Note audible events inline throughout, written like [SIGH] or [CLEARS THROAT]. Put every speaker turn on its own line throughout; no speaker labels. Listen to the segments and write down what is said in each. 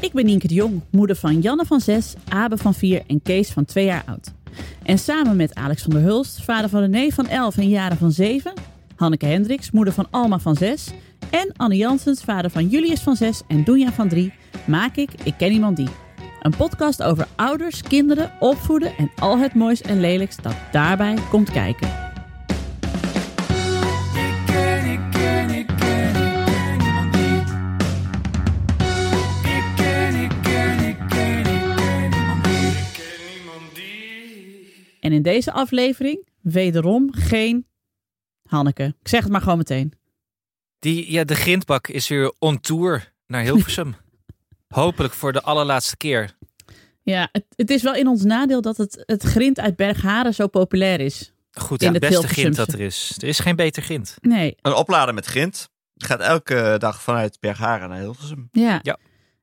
Ik ben Nienke de Jong, moeder van Janne van 6, Abe van 4 en Kees van 2 jaar oud. En samen met Alex van der Hulst, vader van René van 11 en Jaren van 7, Hanneke Hendricks, moeder van Alma van 6 en Anne Jansens, vader van Julius van 6 en Doenja van 3, maak ik Ik Ken Iemand Die. Een podcast over ouders, kinderen, opvoeden en al het moois en lelijks dat daarbij komt kijken. En in deze aflevering wederom geen Hanneke. Ik zeg het maar gewoon meteen.
Die, ja, de grindbak is weer on tour naar Hilversum.
[LAUGHS]
Hopelijk voor de allerlaatste keer.
Ja, het, het is wel in ons nadeel dat het, het grind uit Bergharen zo populair is.
Goed,
In
ja, het
het
beste
Hilversumse.
grind dat er is. Er is geen beter grind.
Nee,
Een oplader met grind. Gaat elke dag vanuit Bergharen naar Hilversum.
ja.
Ja.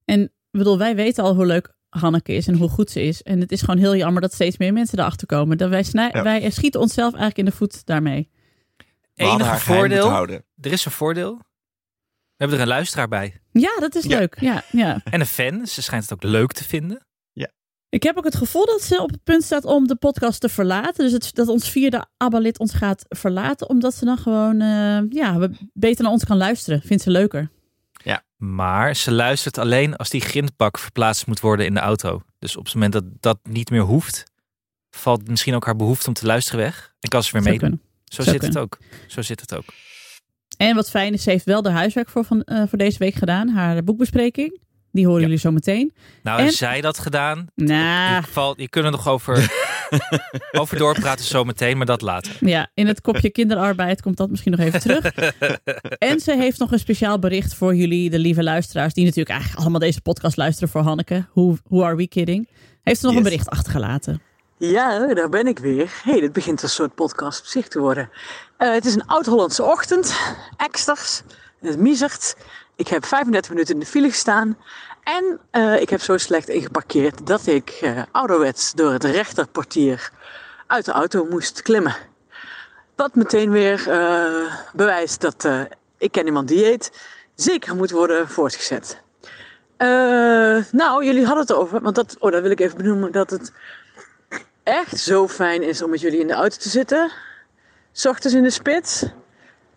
En ik bedoel, wij weten al hoe leuk Hanneke is en hoe goed ze is. En het is gewoon heel jammer dat steeds meer mensen erachter komen. Dat wij, snij,
Ja.
wij schieten onszelf eigenlijk in de voet daarmee.
We hadden
Enige
haar geheim moeten
voordeel,
houden.
er is een voordeel. We hebben er een luisteraar bij.
Ja, dat is
Ja.
leuk. Ja, ja.
En een fan. Ze schijnt het ook leuk te vinden.
Ik heb ook het gevoel dat ze op het punt staat om de podcast te verlaten. Dus het, dat ons vierde ABBA-lid ons gaat verlaten. Omdat ze dan gewoon eh, ja, we- beter naar ons kan luisteren. Vindt ze leuker.
Maar ze luistert alleen als die grindbak verplaatst moet worden in de auto. Dus op het moment dat dat niet meer hoeft, valt misschien ook haar behoefte om te luisteren weg. En kan ze weer
Zou
meedoen.
kunnen.
Zo,
Zou
zit het ook. Zo zit het ook.
En wat fijn is, ze heeft wel de huiswerk voor, van, eh, voor deze week gedaan. Haar boekbespreking. Die horen
Ja.
jullie zo meteen.
Nou,
En-
heeft zij dat gedaan,
Nou,
[LAUGHS] Je, valt, je kunnen nog over,
[LAUGHS]
over doorpraten zometeen, maar dat later.
ja, in het kopje kinderarbeid komt dat misschien nog even terug. en ze heeft nog een speciaal bericht voor jullie, de lieve luisteraars. Die natuurlijk eigenlijk allemaal deze podcast luisteren voor Hanneke. Who, who are we kidding? Heeft ze nog
Yes.
een bericht achtergelaten.
Ja, daar ben ik weer. hey, dit begint een soort podcast op zich te worden. Eh, het is een oud-Hollandse ochtend. Eksters, het miezert. Ik heb 35 minuten in de file gestaan. En eh, ik heb zo slecht ingeparkeerd dat ik eh, ouderwets door het rechterportier uit de auto moest klimmen. Wat meteen weer eh, bewijst dat eh, ik ken iemand die eet zeker moet worden voortgezet. Eh, nou, jullie hadden het over, want dat, oh, dat wil ik even benoemen, dat het echt zo fijn is om met jullie in de auto te zitten. 's ochtends in de spits.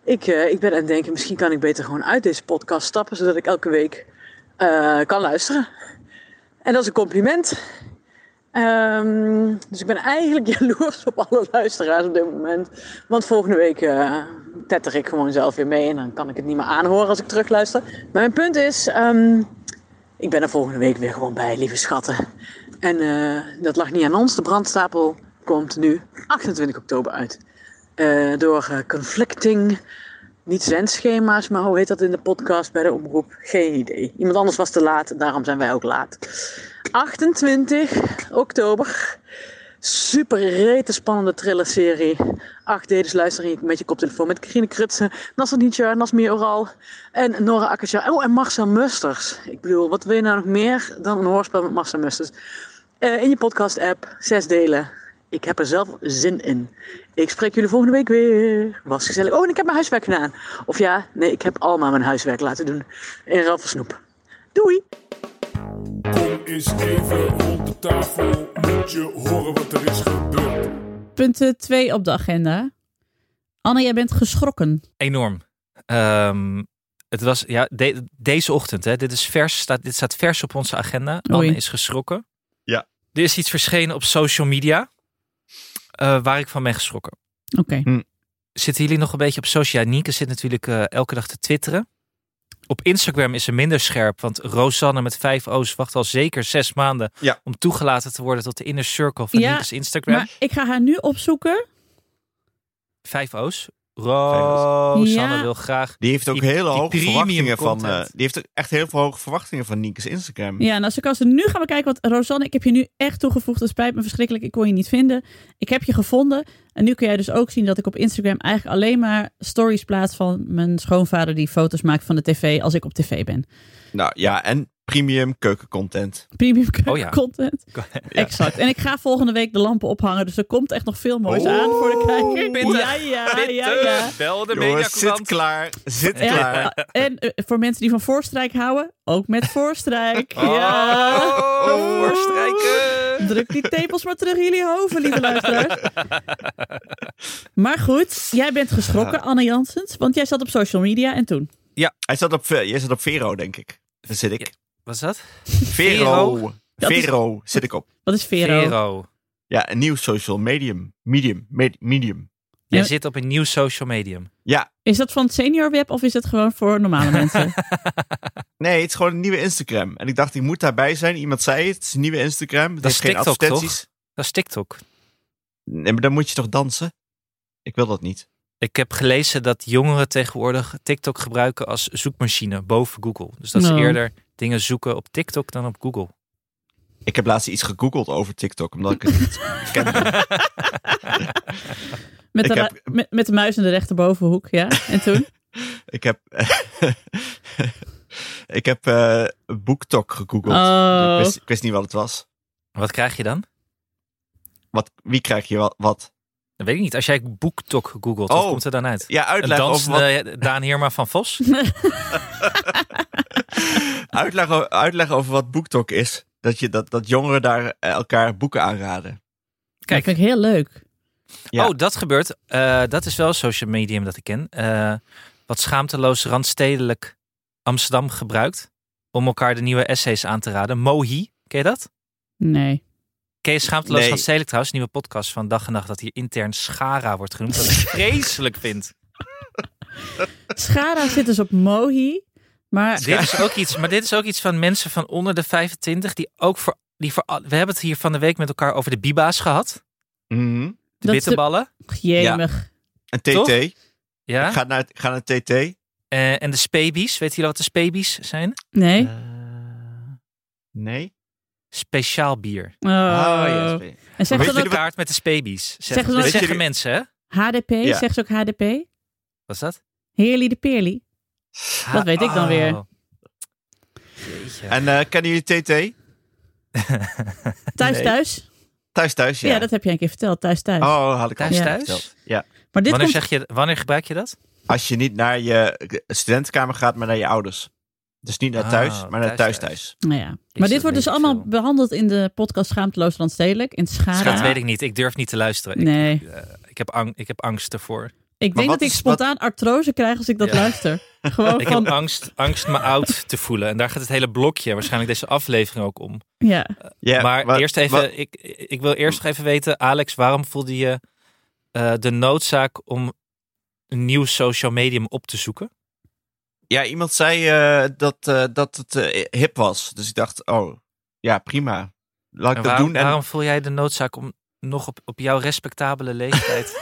Ik, eh, ik ben aan het denken, misschien kan ik beter gewoon uit deze podcast stappen, zodat ik elke week eh, kan luisteren. En dat is een compliment. Ehm, dus ik ben eigenlijk [LAUGHS] jaloers op alle luisteraars op dit moment. Want volgende week eh tetter ik gewoon zelf weer mee en dan kan ik het niet meer aanhoren als ik terugluister. Maar mijn punt is, ehm, ik ben er volgende week weer gewoon bij, lieve schatten. En eh, dat lag niet aan ons. De brandstapel komt nu 28 oktober uit. Eh, door eh, conflicting, niet zendschema's, maar hoe heet dat in de podcast bij de omroep? Geen idee. Iemand anders was te laat, daarom zijn wij ook laat. 28 oktober. Super rete spannende thrillerserie. Acht dedes luisteren met je koptelefoon met Karine Krutsen, Nasser Nietzsche, Nasmir Oral en Nora Akkertja. Oh, en Marcel Musters. Ik bedoel, wat wil je nou nog meer dan een hoorspel met Marcel Musters? Eh, in je podcast-app, zes delen. Ik heb er zelf zin in. Ik spreek jullie volgende week weer. Was gezellig. Oh, en ik heb mijn huiswerk gedaan. Of ja, nee, ik heb allemaal mijn huiswerk laten doen. In ruil voor snoep. Doei!
Kom eens even rond de tafel, moet je horen wat er is gebeurd.
Punt 2 op de agenda. Anne, jij bent geschrokken.
Enorm. Ehm, het was ja, de- deze ochtend. Hè, dit, is vers, staat, dit staat vers op onze agenda.
Oei.
Anne is geschrokken.
Ja.
Er is iets verschenen op social media eh, waar ik van ben geschrokken.
Oké.
Zitten jullie nog een beetje op social? Ja, Nienke zit natuurlijk eh, elke dag te twitteren. Op Instagram is ze minder scherp, want Rosanne met vijf O's wacht al zeker zes maanden
Ja.
om toegelaten te worden tot de inner circle van
Ja,
Nieke's Instagram.
Maar ik ga haar nu opzoeken.
Vijf O's. Rosanne
Ja.
wil graag.
Die heeft ook
Die-
hele
die
hoge
premium
verwachtingen van. eh,
content.
die heeft ook echt heel veel hoge verwachtingen van Nieke's Instagram.
Ja, nou, als ik als we nu gaan bekijken, want Rosanne, ik heb je nu echt toegevoegd. Het spijt me verschrikkelijk, ik kon je niet vinden. Ik heb je gevonden. En nu kun jij dus ook zien dat ik op Instagram eigenlijk alleen maar stories plaats van mijn schoonvader die foto's maakt van de tv als ik op tv ben.
Nou ja, en Premium keukencontent.
Premium keuken
Oh [LAUGHS] ja.
[LAUGHS] content. Exact. En ik ga volgende week de lampen ophangen, dus er komt echt nog veel moois aan voor de kijker.
pittig,
ja, Ah, ja,
Bitte,
ja, ja.
bel de
Jongens, zit
mediacourant.
klaar. Zit klaar.
Ja, en eh, voor mensen die van Voorstrijk houden, ook met Voorstrijk.
Oh,
Ja.
voorstrijken.
Druk die tepels maar terug in jullie hoven, lieve luisteraars. Maar goed, jij bent geschrokken, Anne Jansens. Want jij zat op social media en toen.
Hij zat op, eh, jij zat op Vero, denk ik. Daar zit ik.
Wat is dat?
Vero.
Dat is-
Vero zit ik op.
Wat is Vero?
Vero.
Ja, een nieuw social medium. Medium. Med- medium.
Jij
Ja.
zit op een nieuw social medium.
Ja,
Is dat van het senior web of is dat gewoon voor normale mensen?
nee, het is gewoon een nieuwe Instagram. En ik dacht, ik moet daarbij zijn. Iemand zei het, het is een nieuwe Instagram. Het
Dat
heeft
is
geen
TikTok, toch?
advertenties.
Dat is TikTok.
Nee, maar dan moet je toch dansen? Ik wil dat niet.
Ik heb gelezen dat jongeren tegenwoordig TikTok gebruiken als zoekmachine boven Google. Dus dat ze
Nou.
eerder dingen zoeken op TikTok dan op Google.
Ik heb laatst iets gegoogeld over TikTok, omdat ik het niet kende.
Met de,
Ik
ru-
heb-
met, met de muis in de rechterbovenhoek, ja. En toen?
Ik heb, [LAUGHS] ik heb eh BookTok gegoogeld.
Oh.
Ik, wist, ik wist niet wat het was.
Wat krijg je dan?
Wat, wie krijg je wa- wat?
Dat weet ik niet. Als jij BookTok googelt, wat
Oh.
komt er dan uit?
Ja,
Een
uitleg over, wat,
dansende Daan Heerma van Vos?
[LAUGHS] uitleg, o- uitleg over wat BookTok is. Dat, je, dat, dat jongeren daar eh, elkaar boeken aanraden.
Kijk.
Kijk.
Dat vind ik heel leuk.
Ja.
Oh, dat gebeurt. Eh, dat is wel een social medium dat ik ken. Eh, wat schaamteloos randstedelijk Amsterdam gebruikt om elkaar de nieuwe essays aan te raden. Mohi, ken je dat?
Nee.
Ken je Schaamteloos
Nee.
Randstedelijk trouwens? Nieuwe podcast van Dag en Nacht dat hier intern Schara wordt genoemd. Dat ik
[LAUGHS]
vreselijk vind.
Schara zit dus op Mohi. Maar
Dit is ook iets, maar dit is ook iets van mensen van onder de 25 die ook voor... Die voor al- we hebben het hier van de week met elkaar over de biba's gehad.
Mhm.
De
dat is de...
bitterballen.
Jemig.
En
Toch?
TT.
Ja.
Ga, naar, ga naar TT.
Eh, en de spabies. Weet jullie wat de spabies zijn?
Nee?
Eh, nee.
Speciaal bier.
Oh.
Ah, yes.
En zegt
Zeg Weet
ze
je
dan
de
ook
kaart met de spabies? Zeg,
Zeggen ze
dat
dan-
zeggen
Weet je-
mensen, hè?
HDP?
Ja.
Zegt ze ook HDP?
Wat is dat?
Heerly de Peerly? Dat weet ik dan
Oh.
weer.
Jeetje.
En eh, kennen jullie TT?
Thuis
Nee.
thuis?
Thuis, thuis, ja.
Ja, dat heb jij een keer verteld. Thuis thuis.
Oh, had ik
Thuis,
al
thuis?
verteld. Ja.
Maar dit
wanneer,
komt...
zeg je, wanneer gebruik je dat?
Als je niet naar je studentenkamer gaat, maar naar je ouders. Dus niet naar
Ah,
thuis, maar naar
thuis,
thuis, thuis.
thuis.
Nou ja. Maar dit
dat
wordt dus
weet ik
allemaal
veel.
behandeld in de podcast Schaamteloos Landstedelijk. In Schara.
Dat weet ik niet. Ik durf niet te luisteren. Ik-
Nee.
Ik, heb, ang- ik heb angst ervoor.
Ik denk
wat
dat ik
is- wat-
spontaan artrose krijg als ik dat
Ja.
luister. Gewoon
[LAUGHS] Ik
Oh, van...
heb angst, angst me oud te voelen. En daar gaat het hele blokje, waarschijnlijk deze aflevering ook om.
Ja. [LAUGHS]
Ja,
maar
wat-
eerst even,
wat-
ik, ik wil eerst nog even weten, Alex, waarom voelde je eh, de noodzaak om een nieuw social medium op te zoeken?
ja, iemand zei eh, dat, eh, dat het eh, hip was. Dus ik dacht, oh, ja, prima. Laat
En
ik dat
waarom,
doen. En
waarom voel jij de noodzaak om nog op, op jouw respectabele
[LAUGHS]
leeftijd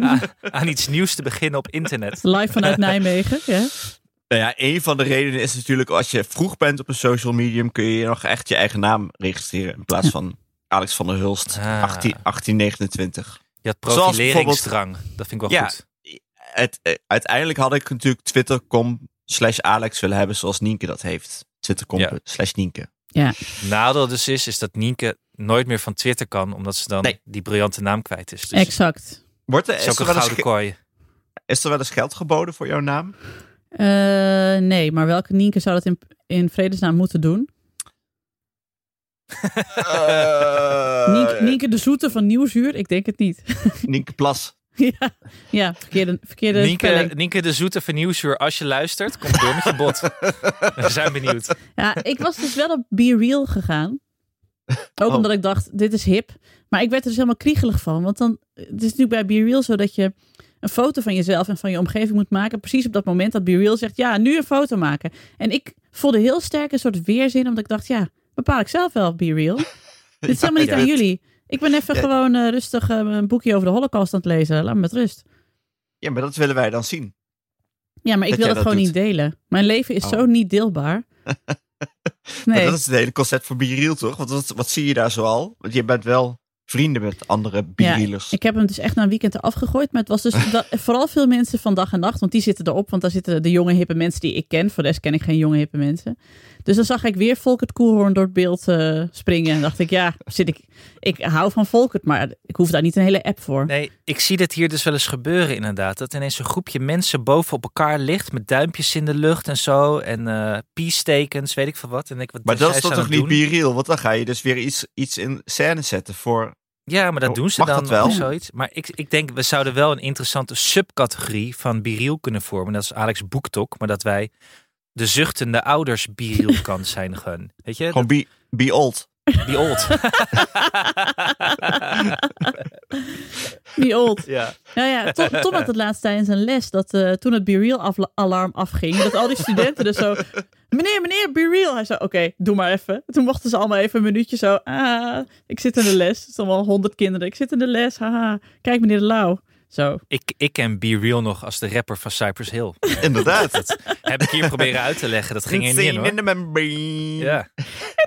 aan, aan iets nieuws te beginnen op internet?
Live vanuit Nijmegen. Ja.
nou ja, een van de redenen is natuurlijk, als je vroeg bent op een social medium, kun je nog echt je eigen naam registreren. In
[LAUGHS]
plaats van Alex van der Hulst,
Ah.
18, 1829.
Je had
Zoals
profileringsdrang. Dat vind ik wel
Ja.
goed.
Het, eh, uiteindelijk had ik natuurlijk twitter.com slash Alex willen hebben, zoals Nienke dat heeft. Twitter.com
Ja.
slash Nienke.
Nadeel dus is, is dat Nienke nooit meer van Twitter kan, omdat ze dan
Nee.
die briljante naam kwijt is. Dus
Exact.
Wordt er,
het
is,
is ook
er
een
wel eens
gouden
ge-
kooi.
is er wel eens geld geboden voor jouw [LAUGHS] naam?
Eh, nee, maar welke Nienke zou dat in, in vredesnaam moeten doen?
Eh,
Eh.
Nienke, Nienke de Zoete van Nieuwzuur? Ik denk het niet. [LAUGHS]
Nienke Plas.
ja, ja, verkeerde, verkeerde
Nienke,
spelling.
Nienke de Zoete van Nieuwsuur, als je luistert, kom door met je [LAUGHS] bot. We zijn benieuwd.
Ja, ik was dus wel op Be Real gegaan. Ook
Oh.
omdat ik dacht, dit is hip. Maar ik werd er dus helemaal kriegelig van. Want dan, het is natuurlijk bij Be Real zo dat je een foto van jezelf en van je omgeving moet maken. Precies op dat moment dat Be Real zegt, ja, nu een foto maken. En ik voelde heel sterk een soort weerzin, omdat ik dacht, ja, bepaal ik zelf wel Be
[LAUGHS]
Real. Dit is helemaal niet
ja.
aan jullie. Ik ben even
Ja.
gewoon eh, rustig eh, een boekje over de holocaust aan het lezen. Laat me met rust.
Ja, maar dat willen wij dan zien.
Ja, maar ik wil
Dat jij
dat,
dat
gewoon
doet.
niet delen. Mijn leven is
Oh.
zo niet
[LAUGHS]
deelbaar.
Maar
Nee.
Dat is het hele concept voor Biriel, toch? Want wat, wat zie je daar zoal? Want je bent wel vrienden met andere bierdealers.
Ik heb hem dus echt na een weekend eraf gegooid. Maar het was dus dat- vooral veel mensen van dag en nacht. Want die zitten erop. Want daar zitten de jonge hippe mensen die ik ken. Voor de rest ken ik geen jonge hippe mensen. Dus dan zag ik weer Volkert Koelhoorn door het beeld eh, springen. En dacht ik, ja, zit ik, ik hou van Volkert. Maar ik hoef daar niet een hele app voor.
Nee, ik zie dit hier dus wel eens gebeuren inderdaad. Dat ineens een groepje mensen boven op elkaar ligt met duimpjes in de lucht en zo. En eh peace-tekens, weet ik veel wat. En ik, wat
Maar
zijn
dat is
ze
toch
aan
toch
het
niet
doen?
biriel? Want dan ga je dus weer iets, iets in scène zetten voor...
Ja, maar dat
Oh,
doen ze
mag
dan
dat wel?
of zoiets. Maar ik, ik denk, we zouden wel een interessante subcategorie van biriel kunnen vormen. Dat is Alex Boektok, maar dat wij de zuchtende ouders biriel
[LAUGHS]
kan zijn gewoon. Weet je,
Gewoon be, be old.
dat- die old.
Die old.
ja.
Nou ja, Tom, Tom had het laatst tijdens een les dat eh, toen het BeReal-alarm afging, dat al die studenten dus zo... Meneer, meneer, BeReal! Hij zei, oké, doe maar even. Toen mochten ze allemaal even een minuutje zo... Ah, ik zit in de les. Het is allemaal honderd kinderen. Ik zit in de les, haha. Kijk, meneer Lau. Zo.
Ik, ik ken biriel nog als de rapper van Cypress
[LAUGHS]
Hill. [LAUGHS]
Inderdaad.
Heb ik hier proberen uit te leggen. Dat ging er niet in hoor.
the membrane. [LAUGHS]
Ja.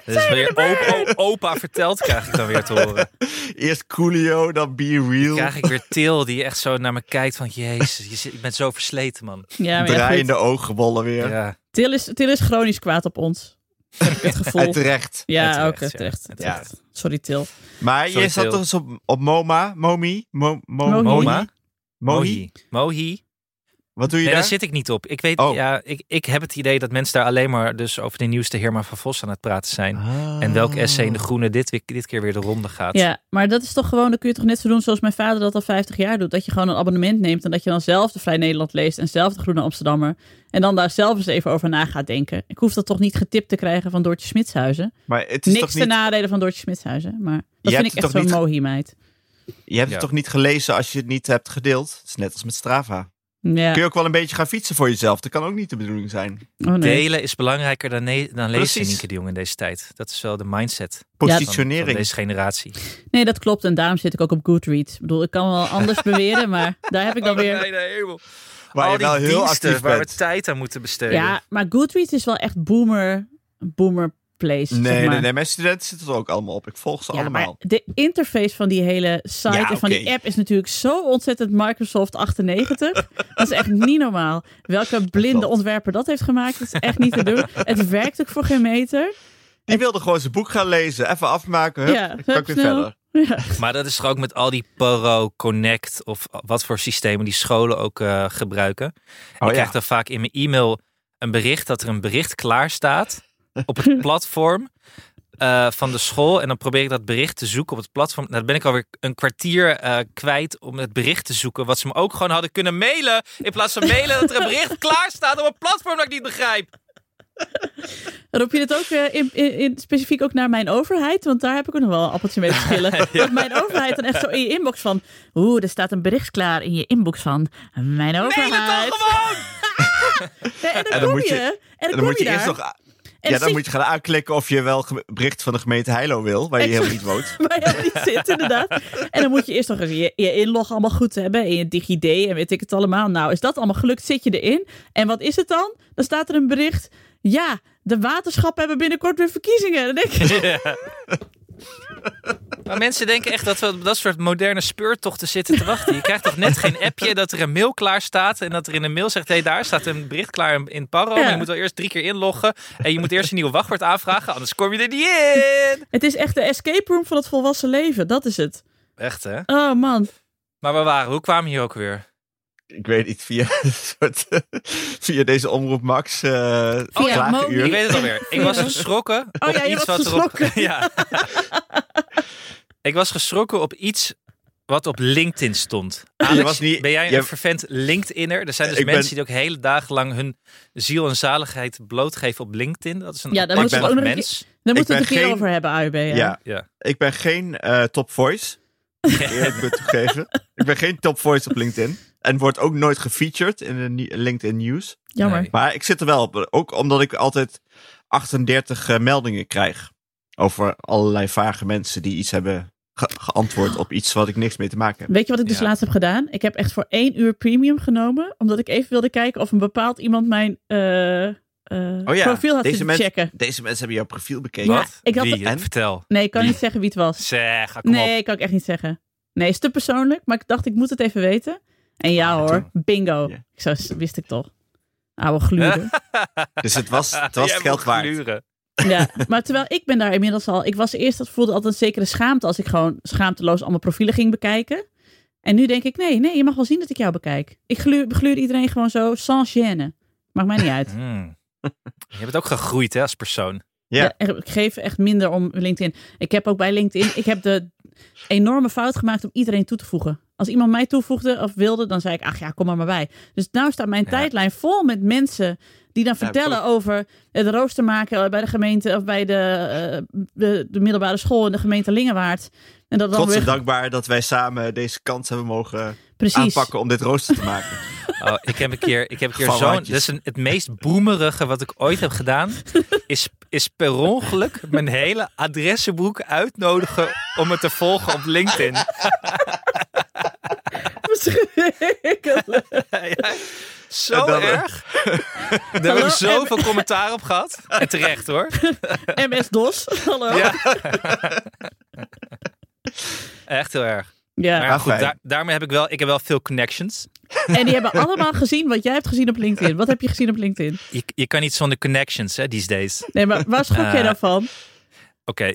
Dus weer opa, opa verteld krijg ik dan weer te horen.
Eerst Coolio, dan Be Real.
Krijg ik weer Til die echt zo naar me kijkt van... Jezus, je, zit- je bent zo versleten man.
Ja, maar ja, goed.
Draaiende ooggebollen weer.
Ja,
Til is, Til is chronisch kwaad op ons. Heb
[LAUGHS]
ik het
En
gevoel.
Eh, terecht.
Ja,
terecht,
ook eh,
ja.
terecht.
En
terecht. Sorry, Til.
Maar
Sorry,
je zat
Til.
toch eens op, op MoMA? Momi? Mo, Mo-
Mohi.
Moma?
Mohi?
Mohi. Mohi.
Wat doe je
Nee, daar
daar?
zit ik niet op. Ik weet,
Oh.
ja, ik, ik heb het idee dat mensen daar alleen maar dus over de nieuwste Herman van Vos aan het praten zijn.
Ah.
En welk essay in de groene dit, week- dit keer weer de ronde gaat.
Ja, maar dat is toch gewoon, dan kun je toch net zo doen zoals mijn vader dat al 50 jaar doet. Dat je gewoon een abonnement neemt en dat je dan zelf de Vrij Nederland leest en zelf de Groene Amsterdammer. En dan daar zelf eens even over na gaat denken. Ik hoef dat toch niet getipt te krijgen van Doortje Smitshuizen.
Maar het is
Niks
toch
ten
niet,
nadele van Doortje Smitshuizen, maar dat
Je
vind
hebt
ik
het
echt
toch
zo'n mohi
niet-
meid.
je hebt het
Ja.
toch niet gelezen als je het niet hebt gedeeld? Het is net als met Strava.
Ja,
Kun je ook wel een beetje gaan fietsen voor jezelf? Dat kan ook niet de bedoeling zijn.
oh nee.
Delen is belangrijker dan, ne- dan lezen,
Precies.
Nienke de Jong, in deze tijd. Dat is wel de mindset van- van,
Positionering.
deze generatie.
nee, dat klopt en daarom zit ik ook op Goodreads. Ik bedoel, ik kan wel
[LAUGHS]
anders beweren, maar daar heb ik
Oh,
dan weer...
waar
Al
je
die
wel heel
diensten
actief
waar we
bent.
tijd aan moeten besteden.
Ja, maar Goodreads is wel echt boomer, boomer place. zeg
Nee,
maar.
nee, nee, mijn studenten zitten er ook allemaal op. Ik volg ze
Ja,
allemaal.
maar de interface van die hele site
Ja,
en van die
oké.
app is natuurlijk zo ontzettend Microsoft
[LAUGHS]
98. dat is echt niet normaal. Welke blinde
klopt.
ontwerper dat heeft gemaakt, dat is echt niet te
[LAUGHS]
doen. Het werkt ook voor geen meter.
Die wilde gewoon zijn boek gaan lezen. Even afmaken. Hup,
Ja,
dan kan
hup,
ik weer
snel.
verder.
Maar dat is toch ook met al die Poro, Connect of wat voor systemen die scholen ook eh, gebruiken.
Oh,
ik
ja.
krijg dan vaak in mijn e-mail een bericht dat er een bericht klaar
[LAUGHS]
staat op het platform eh, van de school. En dan probeer ik dat bericht te zoeken op het platform. Nou, dan ben ik alweer een kwartier eh, kwijt om het bericht te zoeken. Wat ze me ook gewoon hadden kunnen mailen. In plaats van mailen dat er een bericht klaar staat op een platform dat ik niet begrijp.
Roep je dit ook eh, in, in, in- specifiek ook naar mijn overheid? Want daar heb ik ook nog wel een appeltje mee
[LAUGHS]
te schillen. Dat mijn overheid dan echt zo in je inbox van... Oeh, er staat een bericht klaar in je inbox van... Mijn
Mail
overheid.
het dan gewoon!
Nee, en dan,
En dan
kom
moet
je.
je-
en dan,
En dan
kom
moet
je
je
daar.
eerst nog a-
en
ja,
zit
dan moet je gaan aanklikken of je wel ge- bericht van de gemeente Heilo wil, waar je
Exact.
helemaal niet woont.
[LAUGHS] waar je helemaal niet zit, inderdaad. En dan moet je eerst nog eens je, je inlog allemaal goed hebben. En je DigiD en weet ik het allemaal. Nou, is dat allemaal gelukt? Zit je erin? En wat is het dan? Dan staat er een bericht. Ja, de waterschappen hebben binnenkort weer verkiezingen. Dan denk
[LAUGHS]
ik,
Maar mensen denken echt dat we op dat soort moderne speurtochten zitten te wachten. Je krijgt toch net geen appje dat er een mail klaar staat. En dat er in een mail zegt, hé, hey, daar staat een bericht klaar in- in Paro.
Ja.
Maar je moet wel eerst drie keer inloggen. En je moet eerst een nieuw wachtwoord aanvragen, anders kom je er niet in.
het is echt de escape room van het volwassen leven. Dat is het.
Echt, hè?
Oh man.
Maar we waren, hoe kwamen we hier ook weer?
[LAUGHS] Ik weet niet, via, [LAUGHS] een soort, via deze omroep Max. eh klagenuur.
Mobi.
Ik weet het alweer. Ik was geschrokken
Oh
op
ja, je
iets
was
wat erop...
geschrokken.
[LAUGHS] Ja. Ik was geschrokken op iets wat op LinkedIn stond. Alex,
was niet-
ben jij een
je-
vervent LinkedInner? Er zijn dus
Ik ben-
mensen die ook hele dagen lang hun ziel en zaligheid blootgeven op LinkedIn. Dat is een
Ja,
ja,
daar moeten we
apart
ook nog een
mens.
Daar moeten we
ben
het een keer
geen-
over hebben, AUB. hè?
Ja,
Ja.
ik ben geen eh, top voice. moet ik Eerlijk moet toegeven. Ik ben geen top voice op LinkedIn. En wordt ook nooit gefeatured in de ni- LinkedIn News.
Jammer.
Nee.
Maar ik zit er wel op. Ook omdat ik altijd 38 eh, meldingen krijg. Over allerlei vage mensen die iets hebben ge- geantwoord op iets wat ik niks mee te maken heb.
Weet je wat ik dus
Ja.
laatst heb gedaan? Ik heb echt voor één uur premium genomen. Omdat ik even wilde kijken of een bepaald iemand mijn eh, eh,
Oh ja,
profiel had
deze
zitten
mensen-
checken.
Deze mensen hebben jouw profiel bekeken.
Ja,
Wat?
ik had-
Wie?
En?
Vertel.
Nee, ik kan
Wie?
niet zeggen wie het was.
Zeg, ga, kom
nee,
op.
ik kan ik echt niet zeggen. Nee, is te persoonlijk, maar ik dacht ik moet het even weten. En ja hoor, bingo.
Ja.
Ik zou, wist ik toch. Oude gluren.
[LAUGHS] Dus het was [LAUGHS] het, was
Jij
het geld
moet
waard.
gluren.
Ja, maar terwijl ik ben daar inmiddels al. Ik was eerst dat voelde altijd een zekere schaamte als ik gewoon schaamteloos allemaal profielen ging bekijken. En nu denk ik, nee, nee, je mag wel zien dat ik jou bekijk. Ik gluur, begluur iedereen gewoon zo sans gêne. Maakt mij niet uit.
Hmm. Je bent ook gegroeid hè, als persoon.
Ja.
Ja, ik geef echt minder om LinkedIn. Ik heb ook bij LinkedIn, ik heb de enorme fout gemaakt om iedereen toe te voegen. Als iemand mij toevoegde of wilde, dan zei ik, ach ja, kom er maar bij. Dus nu staat mijn
Ja.
tijdlijn vol met mensen die dan
Ja,
vertellen over het rooster maken eh, bij de gemeente of bij de, eh, de, de middelbare school in de gemeente Lingewaard. En dat dan
Trots en
weer
dankbaar dat wij samen deze kans hebben mogen
precies. [LAUGHS]
aanpakken om dit rooster te maken.
Oh, ik heb een keer, ik heb een keer
Van
zo'n.
handjes.
Dus een, het meest boemerige wat ik ooit heb gedaan. Is, is per ongeluk mijn hele adressenboek uitnodigen om me te volgen op
[LAUGHS]
LinkedIn.
[LAUGHS] Verschrikkelijk.
Ja, zo
En dan, eh,
erg. Daar hebben we
Hallo,
zoveel commentaar op gehad. En terecht hoor.
MS-DOS, hallo.
Ja. Echt heel erg.
Ja.
Maar goed,
fijn.
daar- daarmee heb ik wel, ik heb wel veel connections.
En die hebben allemaal gezien wat jij hebt gezien op LinkedIn. Wat heb je gezien op LinkedIn?
Je, je kan niet zonder connections, hè, these days.
Nee, maar waar schrok jij
Eh,
dan van?
Oké.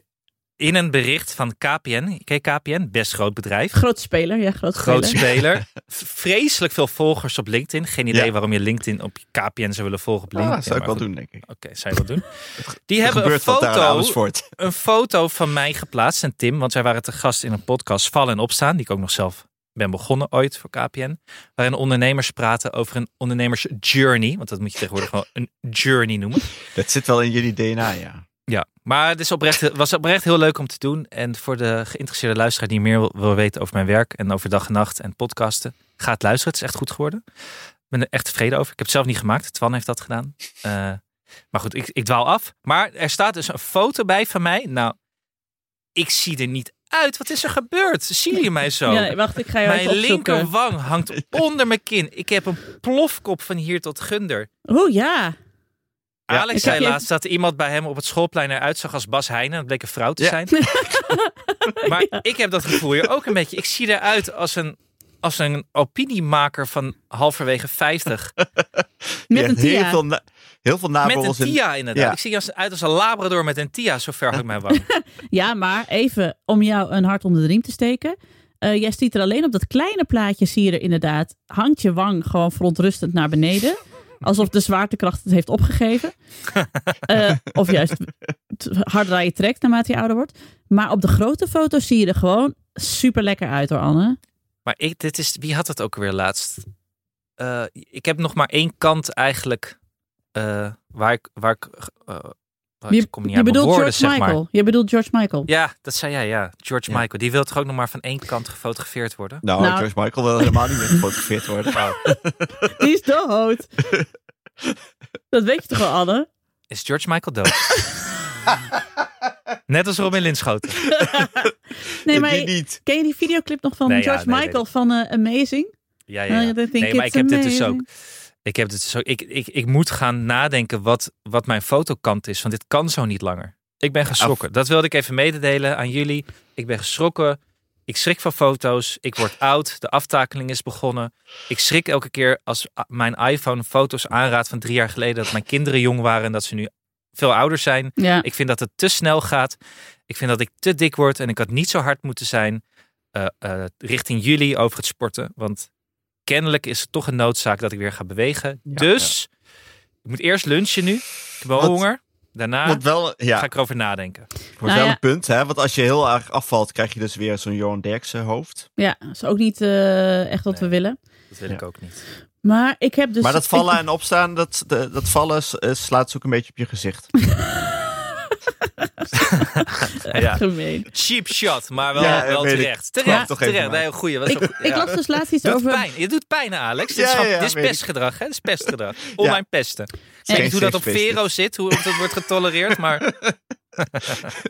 In een bericht van KPN. Ken je KPN? Best groot bedrijf.
Groot speler, ja, groot speler.
Groot speler. [LAUGHS] V- Vreselijk veel volgers op LinkedIn. Geen idee
Ja.
waarom je LinkedIn op je KPN zou willen volgen op
Ah,
LinkedIn.
dat zou ik
maar
wel
goed.
doen, denk ik.
Oké, zou je
[LAUGHS]
wel doen. Die
Er
hebben een
gebeurt wat daar in
foto,
Amersfoort. [LAUGHS]
een foto van mij geplaatst en Tim. Want zij waren te gast in een podcast Vallen en Opstaan. Die ik ook nog zelf ben begonnen ooit voor KPN. Waarin ondernemers praten over een ondernemersjourney. Want dat moet je tegenwoordig gewoon een journey noemen.
Dat zit wel in jullie DNA, ja.
Ja, maar het is oprecht, het was oprecht heel leuk om te doen. En voor de geïnteresseerde luisteraar die meer wil, wil weten over mijn werk en over dag en nacht en podcasten, ga het luisteren. Het is echt goed geworden. Ik ben er echt tevreden over. Ik heb het zelf niet gemaakt. Twan heeft dat gedaan. Eh, maar goed, ik, ik dwaal af. Maar er staat dus een foto bij van mij. Nou, ik zie er niet uit. Wat is er gebeurd? Zien jullie mij zo?
Ja, nee, wacht, ik ga jou
mijn
even opzoeken.
linkerwang hangt onder mijn kin. Ik heb een plofkop van hier tot gunder.
Oeh, ja.
Ja,
Alex
ik
zei
heb je-
laatst dat iemand bij hem op het schoolplein eruit zag als Bas Heijnen. Dat bleek een vrouw te
Ja.
[LAUGHS]
zijn. maar ik heb dat gevoel hier ook een beetje. Ik zie eruit als een, als een opiniemaker van
[LAUGHS]
halverwege 50.
Met
Je
een
hebt heel
tia.
Veel na- heel veel
Met een
naborrels in-
tia inderdaad.
Ja.
Ik zie eruit als een labrador met een tia. Zo ver had ik
[LAUGHS]
mijn wang.
Ja, maar even om jou een hart onder de riem te steken. Eh, jij ziet er alleen op dat kleine plaatje, zie je er inderdaad, hangt je wang gewoon verontrustend naar beneden. Alsof de zwaartekracht het heeft
[LAUGHS]
opgegeven. Eh, of juist t- harder aan je trekt naarmate je ouder wordt. Maar op de grote foto zie je er gewoon super lekker uit hoor, Anne.
Maar ik, dit is, wie had dat ook weer laatst? Eh, ik heb nog maar één kant eigenlijk eh, waar ik... Waar ik eh, waar ik
Je,
kom niet
je
aan mijn
bedoelt
woorden,
George
zeg maar.
Michael. Je bedoelt George Michael.
Ja, dat zei jij, ja. George
Ja.
Michael. Die wil toch ook nog maar van één kant gefotografeerd worden?
Nou,
Nou.
George Michael wil helemaal niet meer gefotografeerd worden.
Die is dood. dat weet je toch wel, Anne?
Is George Michael dood? Net als Robin Linschoten.
[LAUGHS] [LAUGHS] Nee, maar
Die niet.
Ken je die videoclip nog van
Nee, ja,
George
nee,
Michael van eh, Amazing? Nou,
Ja, ja, ja.
I think
Nee, maar
it's
ik heb dit dus
amazing.
ook. Ik, heb dit dus ook ik, ik, ik moet gaan nadenken wat, wat mijn fotokant is. Want dit kan zo niet langer. Ik ben geschrokken. Dat wilde ik even mededelen aan jullie. Ik ben geschrokken. Ik schrik van foto's. Ik word oud. De aftakeling is begonnen. Ik schrik elke keer als a- mijn iPhone foto's aanraadt van drie jaar geleden. Dat mijn kinderen jong waren en dat ze nu veel ouder zijn.
Ja.
Ik vind dat het te snel gaat. Ik vind dat ik te dik word en ik had niet zo hard moeten zijn eh, eh, richting jullie over het sporten. Want kennelijk is het toch een noodzaak dat ik weer ga bewegen.
Ja,
dus ik moet eerst lunchen nu. Ik heb wel
Wat-
honger. Daarna
Want wel, ja,
ga ik erover nadenken.
wordt
Nou
wel
ja.
een punt, hè. Want als je heel erg afvalt, krijg je dus weer zo'n Johan Derksen hoofd.
Ja, is ook niet eh, echt wat
Nee.
we willen.
Dat wil
Ja.
ik ook
[LAUGHS]
niet.
Maar ik heb dus.
maar dat
[LAUGHS]
vallen
ik-
en opstaan, dat, de- dat vallen s- eh, slaat zoek een beetje op je gezicht.
echt
Ja.
gemeen.
Cheap shot, maar wel,
Ja,
wel
weet ik.
terecht.
Kwam
Terecht,
toch even
terecht.
uit.
Nee, goeie. Was
Ik,
ook-
ik
ja.
las dus laatst iets
Doet
over.
pijn. Je doet pijn, Alex. Dit is,
Ja,
grap-
ja, ja,
dit is
weet ik.
pestgedrag, hè? Dit is pestgedrag.
[LAUGHS]
Online pesten. Ik weet
Geen
niet hoe dat op
safe space
Vero zit, hoe dat wordt getolereerd,
[LAUGHS]
maar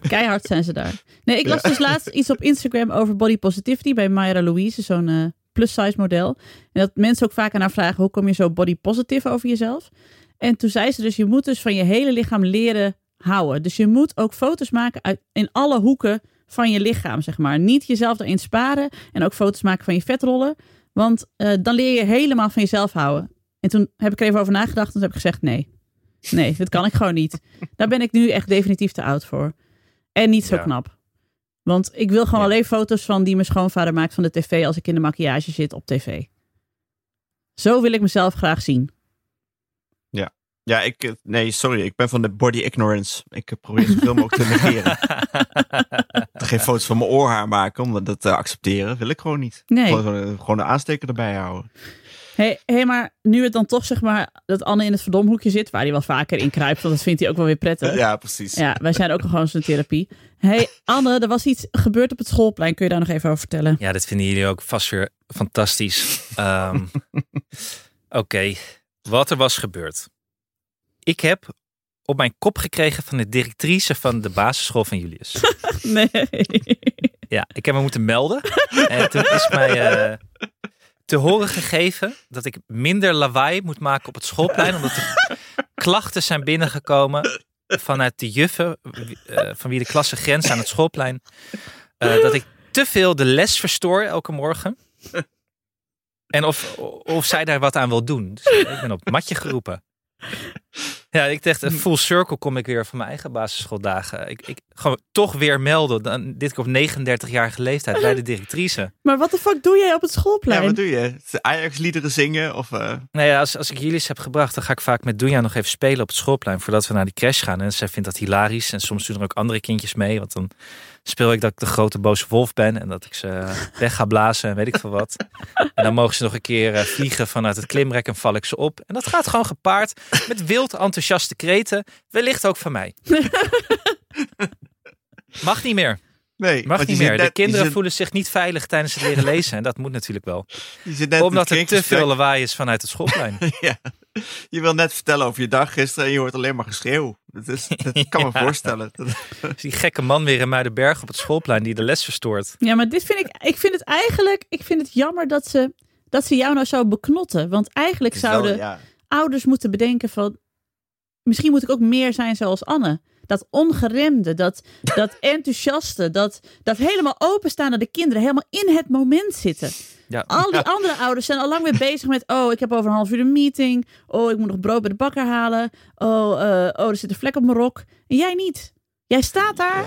Keihard zijn ze daar. Nee, ik las dus laatst iets op Instagram over body positivity bij Mayra Louise, zo'n eh, plus size model. En dat mensen ook vaak aan haar vragen: hoe kom je zo body positive over jezelf? En toen zei ze dus, je moet dus van je hele lichaam leren houden. Dus je moet ook foto's maken uit, in alle hoeken van je lichaam, zeg maar. Niet jezelf erin sparen en ook foto's maken van je vetrollen. Want eh, dan leer je helemaal van jezelf houden. En toen heb ik er even over nagedacht en toen heb ik gezegd nee. Nee, dat kan ik gewoon niet. Daar ben ik nu echt definitief te oud voor. En niet zo
Ja.
knap. Want ik wil gewoon alleen foto's van die mijn schoonvader maakt van de tv als ik in de maquillage zit op tv. Zo wil ik mezelf graag zien.
Ja, ik, eh, nee, sorry, ik ben van de body ignorance. Ik eh, probeer zoveel mogelijk te
[LAUGHS]
negeren. Geen foto's van mijn oorhaar maken, omdat dat te accepteren wil ik gewoon niet.
Nee.
Gewoon, eh, gewoon de aansteker erbij houden.
hey, hey, maar nu het dan toch zeg maar dat Anne in het verdomhoekje zit, waar hij wel vaker in kruipt, want dat vindt hij ook wel weer prettig.
Ja, precies.
Ja, wij zijn ook gewoon zo'n therapie. hey, Anne, er was iets gebeurd op het schoolplein. Kun je daar nog even over
[LAUGHS]
vertellen?
Ja, dit vinden jullie ook vast weer fantastisch. Ehm, Oké, wat er was gebeurd. Ik heb op mijn kop gekregen van de directrice van de basisschool van Julius.
Nee.
Ja, ik heb me moeten melden. En toen is mij eh, te horen gegeven dat ik minder lawaai moet maken op het schoolplein. Omdat er klachten zijn binnengekomen vanuit de juffen, wie- eh, van wie de klasse grenst aan het schoolplein. eh, dat ik te veel de les verstoor elke morgen. En of, of zij daar wat aan wil doen. Dus ik ben op het matje geroepen. Ja, ik dacht, eh, full circle kom ik weer van mijn eigen basisschooldagen. Ik, ik gewoon toch weer melden. Dan, dit keer op 39-jarige leeftijd bij de
[LAUGHS]
directrice.
Maar wat de fuck doe jij op het
Ja,
schoolplein?
wat doe je? Ajax-liederen zingen? Of, eh,
Nou ja, als, als ik jullie heb gebracht, dan ga ik vaak met Doenja nog even spelen op het schoolplein voordat we naar die crash gaan. En zij vindt dat hilarisch. En soms doen er ook andere kindjes mee. Want dan speel ik dat ik de grote boze wolf ben en dat ik ze eh, weg ga blazen en weet ik veel wat. En dan mogen ze nog een keer eh, vliegen vanuit het klimrek en val ik ze op. En dat gaat gewoon gepaard met wild enthousiaste kreten. Wellicht ook van
[LAUGHS]
mij. Mag niet meer.
nee,
Mag
want
niet
je zit
meer.
net-
De kinderen
je zit,
voelen zich niet veilig tijdens het leren lezen. En dat moet natuurlijk wel.
je zit net
Omdat
met
er te
kindgesprek.
veel lawaai is vanuit het schoolplein.
[LAUGHS] Ja. Je wil net vertellen over je dag gisteren en je hoort alleen maar geschreeuw. Dat, is, dat
[LAUGHS]
kan me voorstellen. Dat-
Dus die gekke man weer in Muidenberg op het schoolplein die de les verstoort.
Ja, maar dit vind ik. Ik vind het eigenlijk. Ik vind het jammer dat ze, dat ze jou nou zo beknotten. Want eigenlijk
is wel-
zouden
[LAUGHS] ja.
ouders moeten bedenken van. Misschien moet ik ook meer zijn zoals Anne. Dat ongeremde, dat,
[LAUGHS]
dat enthousiaste, dat, dat helemaal openstaan naar de kinderen, helemaal in het moment zitten.
Ja.
Al die andere ouders zijn al lang weer bezig met: oh, ik heb over een half uur een meeting. Oh, ik moet nog brood bij de bakker halen. Oh, eh, oh er zit een vlek op mijn rok. En jij niet. Jij staat daar.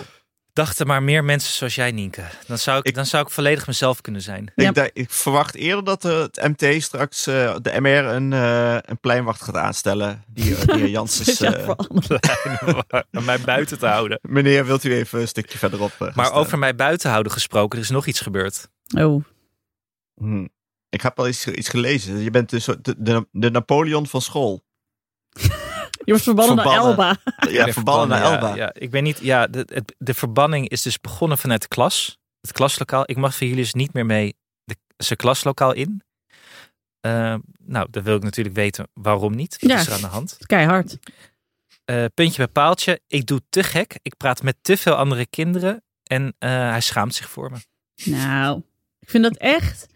Dachten maar meer mensen zoals jij, Nienke. Dan zou ik,
Ik-
dan zou ik volledig mezelf kunnen zijn.
Ja.
Ik, denk- ik verwacht eerder dat eh, het MT straks eh, de MR een, eh, een pleinwacht gaat aanstellen. Die,
[LAUGHS]
eh, die
Dus
Janssens.
ja,
eh,
voor Anne.
[LAUGHS]
[LAUGHS]
Om mij buiten te houden. Dus
meneer, wilt u even een stukje verderop? eh, gaan
Maar
staan?
over mij buiten houden gesproken, er is nog iets gebeurd.
Oh.
Hm. Ik heb al iets, iets gelezen. Je bent dus de, de, de Napoleon van
[LAUGHS]
school.
Je wordt verbannen naar
Verbannen.
Elba.
Ja,
Ik ben
verbannen naar
verbannen,
Elba.
Ja, ja. ik ben niet. Ja, de, het- de verbanning is dus begonnen vanuit de klas. Het klaslokaal. Ik mag van jullie dus niet meer mee de, zijn klaslokaal in. Eh, nou, dan wil ik natuurlijk weten waarom niet. Wat
Ja.
is er aan de hand?
Keihard.
Eh, puntje bij paaltje. Ik doe te gek. Ik praat met te veel andere kinderen. En eh, hij schaamt zich voor me.
Nou, ik vind dat echt.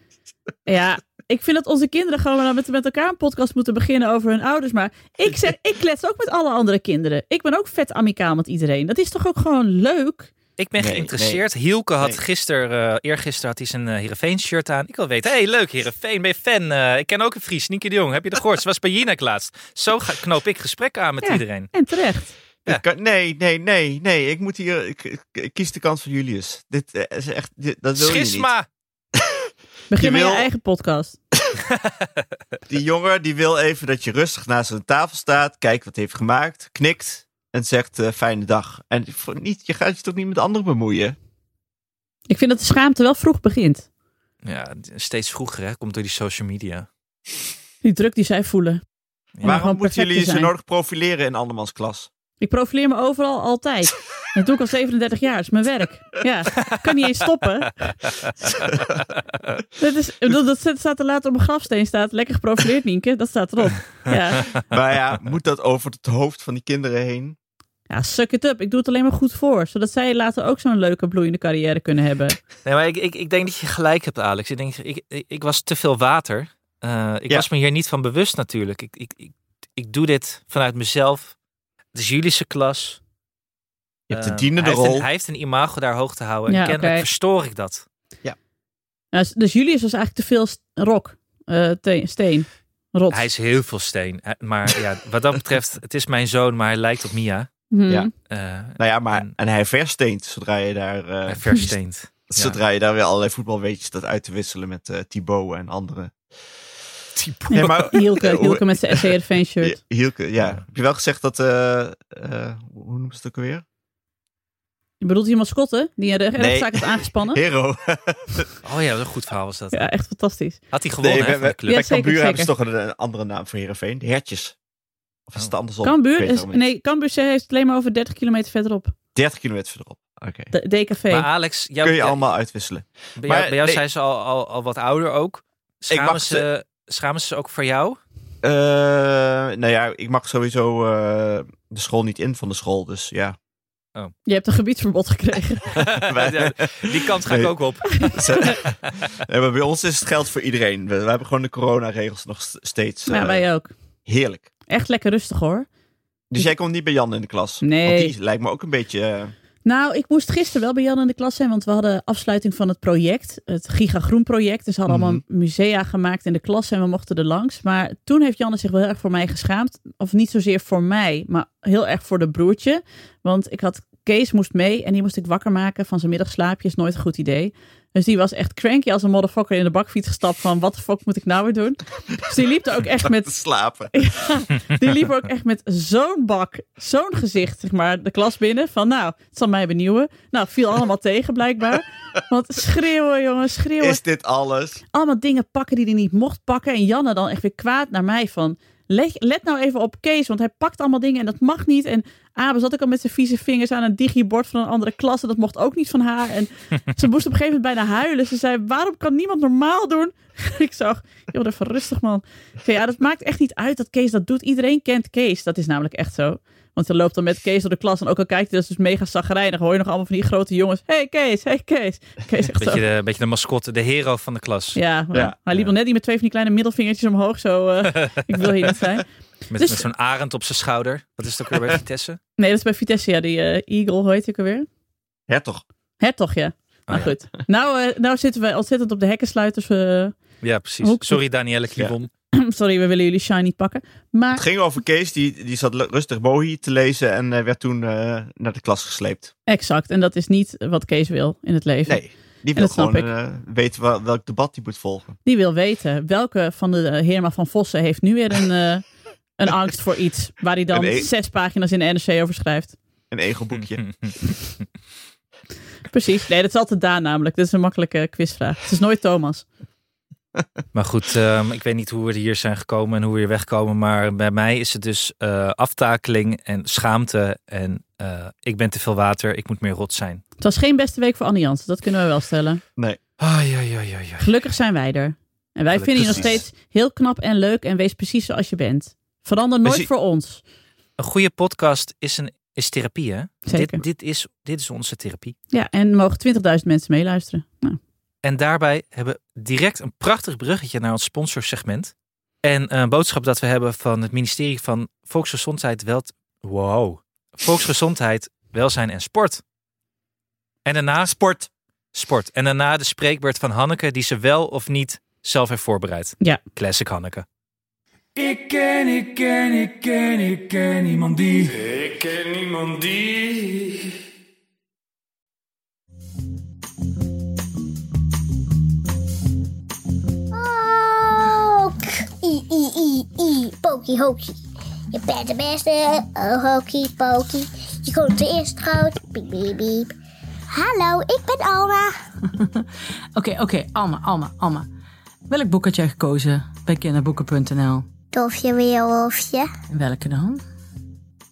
Ja, ik vind dat onze kinderen gewoon maar met, met elkaar een podcast moeten beginnen over hun ouders. Maar ik, zeg, ik klets ook met alle andere kinderen. Ik ben ook vet amicaal met iedereen. Dat is toch ook gewoon leuk?
Ik ben
Nee,
geïnteresseerd. Hielke had
Nee.
gisteren, eh eergisteren had hij zijn eh Heerenveen shirt aan. Ik wil weten, hey leuk Heerenveen, ben je fan? Eh, ik ken ook een Fries, Nienke de Jong. Heb je de gehoord? Ze was bij Jinek laatst. Zo ga, knoop ik gesprekken aan met
Ja.
iedereen.
En terecht.
Ja.
Ik kan- nee, nee, nee, nee. Ik moet hier. Ik, ik- ik kies de kant van Julius. Dit eh, is echt. dit- dat wil je niet.
Schisma!
Begin
Je
met je
wil-
eigen podcast.
Die jongen die wil even dat je rustig naast zijn tafel staat, kijkt wat hij heeft gemaakt, knikt en zegt eh, fijne dag. En voor niet, je gaat je toch niet met anderen bemoeien?
Ik vind dat de schaamte wel vroeg begint.
Ja, steeds vroeger hè, komt door die social media.
Die druk die zij voelen.
Ja.
gewoon
Waarom moeten
perfect
jullie
te
zo
zijn.
nodig profileren in andermans
[LAUGHS]
klas?
Ik profileer me overal altijd.
[LAUGHS]
Dat doe ik al 37 jaar. Dat is mijn werk. Ja, ik kan niet eens stoppen.
[LAUGHS]
Dat, is, ik bedoel, dat staat er later op mijn grafsteen. Staat lekker geprofileerd, Nienke. Dat staat
[LAUGHS]
erop. Ja.
Maar ja, moet dat over het hoofd van die kinderen heen?
ja, suck it up. Ik doe het alleen maar goed voor. Zodat zij later ook zo'n leuke bloeiende carrière kunnen hebben.
Nee, maar ik, ik, ik denk dat je gelijk hebt, Alex. Ik denk, ik, ik, ik was te veel water. Eh, ik
Ja.
was me hier niet van bewust natuurlijk. Ik, ik, ik, ik doe dit vanuit mezelf. Het is Julische klas.
Je hebt
Eh,
de dienende
hij heeft
rol.
een- hij heeft een imago daar hoog te houden. En
Ja,
kennelijk
oké.
verstoor ik dat.
Nou, dus Julius was eigenlijk te veel st- rok, eh, te- steen, rot.
Hij is heel veel steen. Eh, Maar ja, wat dat
[LAUGHS]
betreft, het is mijn zoon, maar hij lijkt op Mia.
Mhm.
Ja.
Eh
Nou ja, maar
En-
en hij versteent zodra je daar, eh,
hij versteent.
zodra je daar weer allerlei voetbalweetjes dat uit te wisselen met eh Thibaut en anderen.
Thibaut.
Nee, maar [LAUGHS]
Hielke,
Eh, hoe-
Hielke met zijn SCRV
Ja,
shirt.
Hielke, ja.
Ja.
Heb je wel gezegd dat, eh, eh, hoe noemen ze het ook alweer?
Je bedoelt iemand Schotten, die een re-
Nee.
rechtszaak heeft
[LAUGHS]
aangespannen?
Hero.
Oh ja, wat een goed verhaal was dat.
Ja, echt fantastisch.
Had hij gewonnen
Nee,
hè,
we,
van de
we,
club?
Ja,
bij
zeker,
Cambuur hebben ze
zeker.
toch een, een andere naam voor Heerenveen. De hertjes. Of is het
Oh.
andersom? Ik
Cambuur
weet het
is,
helemaal niet.
nee, Cambuur heeft het alleen maar over 30 kilometer verderop.
30 kilometer verderop. Oké.
De, DKV.
Maar Alex, jou,
Kun je
ja,
allemaal uitwisselen.
bij jou,
maar
bij jou
nee.
zijn ze al, al, al wat ouder ook. Schamen
mag
ze, schamen ze ook voor jou? [LAUGHS]
Eh, nou ja, ik mag sowieso eh, de school niet in van de school.
[LAUGHS]
Dus ja. [LAUGHS]
Je hebt een gebiedsverbod gekregen.
Ja, Die kant ga ik
Nee.
ook op.
Ze- nee, maar bij ons is het geld voor iedereen. We, we hebben gewoon de coronaregels nog st- steeds.
ja,
eh,
Nou, wij ook.
Heerlijk.
Echt lekker rustig hoor.
Dus jij komt niet bij Jan in de klas?
Nee.
Want die lijkt me ook een beetje... eh,
Nou, ik moest gisteren wel bij Jan in de klas zijn, want we hadden afsluiting van het project, het Giga Groen project. Dus ze hadden allemaal musea gemaakt in de klas en we mochten er langs. Maar toen heeft Janne zich wel heel erg voor mij geschaamd. Of niet zozeer voor mij, maar heel erg voor de broertje. Want ik had, Kees moest mee en die moest ik wakker maken van zijn middagslaapje, is nooit een goed idee. Dus die was echt cranky als een motherfucker in de bakfiets gestapt van wat de fuck moet ik nou weer doen. Dus die liep er ook echt met
te slapen.
die liep ook echt met zo'n bak, zo'n gezicht, zeg maar, de klas binnen. Van nou, het zal mij benieuwen. Nou, viel allemaal tegen blijkbaar. Want schreeuwen, jongen, schreeuwen.
Is dit alles?
Allemaal dingen pakken die hij niet mocht pakken. En Janne dan echt weer kwaad naar mij van... Let, let nou even op Kees, want hij pakt allemaal dingen en dat mag niet. En Abe zat ook al met zijn vieze vingers aan een digibord van een andere klas. En dat mocht ook niet van haar. En ze moest op een gegeven moment bijna huilen. Ze zei, waarom kan niemand normaal doen? [LAUGHS] ik zag, joh, even rustig man. Ik zei, ja, dat maakt echt niet uit dat Kees dat doet. Iedereen kent Kees. Dat is namelijk echt zo. Want ze loopt dan met Kees door de klas. En ook al kijkt hij, dat is dus mega zagrijnig. Hoor je nog allemaal van die grote jongens. hey Kees, hey Kees. Kees echt zo.
Beetje de, beetje de mascotte, de hero van de klas.
Ja, maar
Ja.
hij liep nog net niet met twee van die kleine middelvingertjes omhoog. Zo, eh, ik wil hier niet zijn.
Met,
Dus-
met zo'n arend op zijn schouder. Wat is het ook weer bij Vitesse?
Nee, dat is bij Vitesse, ja. Die eh, Eagle, hoe heet ik alweer?
Hertog.
Hertog, ja. Nou
ja.
goed. Nou, eh, nou zitten wij ontzettend op de hekkensluiters. eh,
Ja, precies.
Hoek-
Sorry Danielle Klibon.
[CLEARS THROAT] sorry, we willen jullie shine niet pakken. Maar
Het ging over Kees, die, die zat lu- rustig Bohi te lezen en eh, werd toen eh, naar de klas gesleept.
exact. En dat is niet wat Kees wil in het leven.
Nee, die wil
dat snap
gewoon eh, weten wel- welk debat die moet volgen.
Die wil weten welke van de eh, Herma van Vossen heeft nu weer een, eh, een angst voor iets. Waar hij dan
Een e-
zes pagina's in de NRC over schrijft.
Een
Mhm.
ego-boekje.
Precies. Nee, dat is altijd Daan namelijk. Dit is een makkelijke quizvraag. Het is nooit Thomas.
Maar goed, ehm, ik weet niet hoe we hier zijn gekomen en hoe we hier wegkomen. Maar bij mij is het dus eh, aftakeling en schaamte. En eh, ik ben te veel water, ik moet meer rot zijn.
Het was geen beste week voor Annie Jansen. Dat kunnen we wel stellen.
Ah, ja, ja, ja, ja.
Gelukkig zijn wij er. En wij
Gelukkig.
vinden je nog
Precies.
steeds heel knap en leuk en wees precies zoals je bent. Verander nooit
Precies.
voor ons.
Een goede podcast is, een, is therapie, hè?
Zeker.
Dit, dit, is, dit is onze therapie.
Ja, en mogen 20.000 mensen meeluisteren. Nou,
En daarbij hebben we direct een prachtig bruggetje naar ons sponsorsegment. En een boodschap dat we hebben van het ministerie van Volksgezondheid, wel wow. Volksgezondheid, Welzijn en Sport. En daarna
Sport.
sport. En daarna de spreekbeurt van Hanneke, die ze wel of niet zelf heeft voorbereid.
Ja.
Classic Hanneke.
Ik ken, ik ken, ik ken, ik ken niemand die. Ik ken niemand die.
Ook. I, i, i, i. Pokey, hokey. Je bent de beste. Oh, hokey, pokey. Je komt de eerste groot. Piep, piep, piep. Hallo, ik ben Alma.
Oké, oké, Alma, Alma, Alma. Welk boek had jij gekozen bij kinderboeken.nl?
Dolfje, weerwolfje.
En welke dan?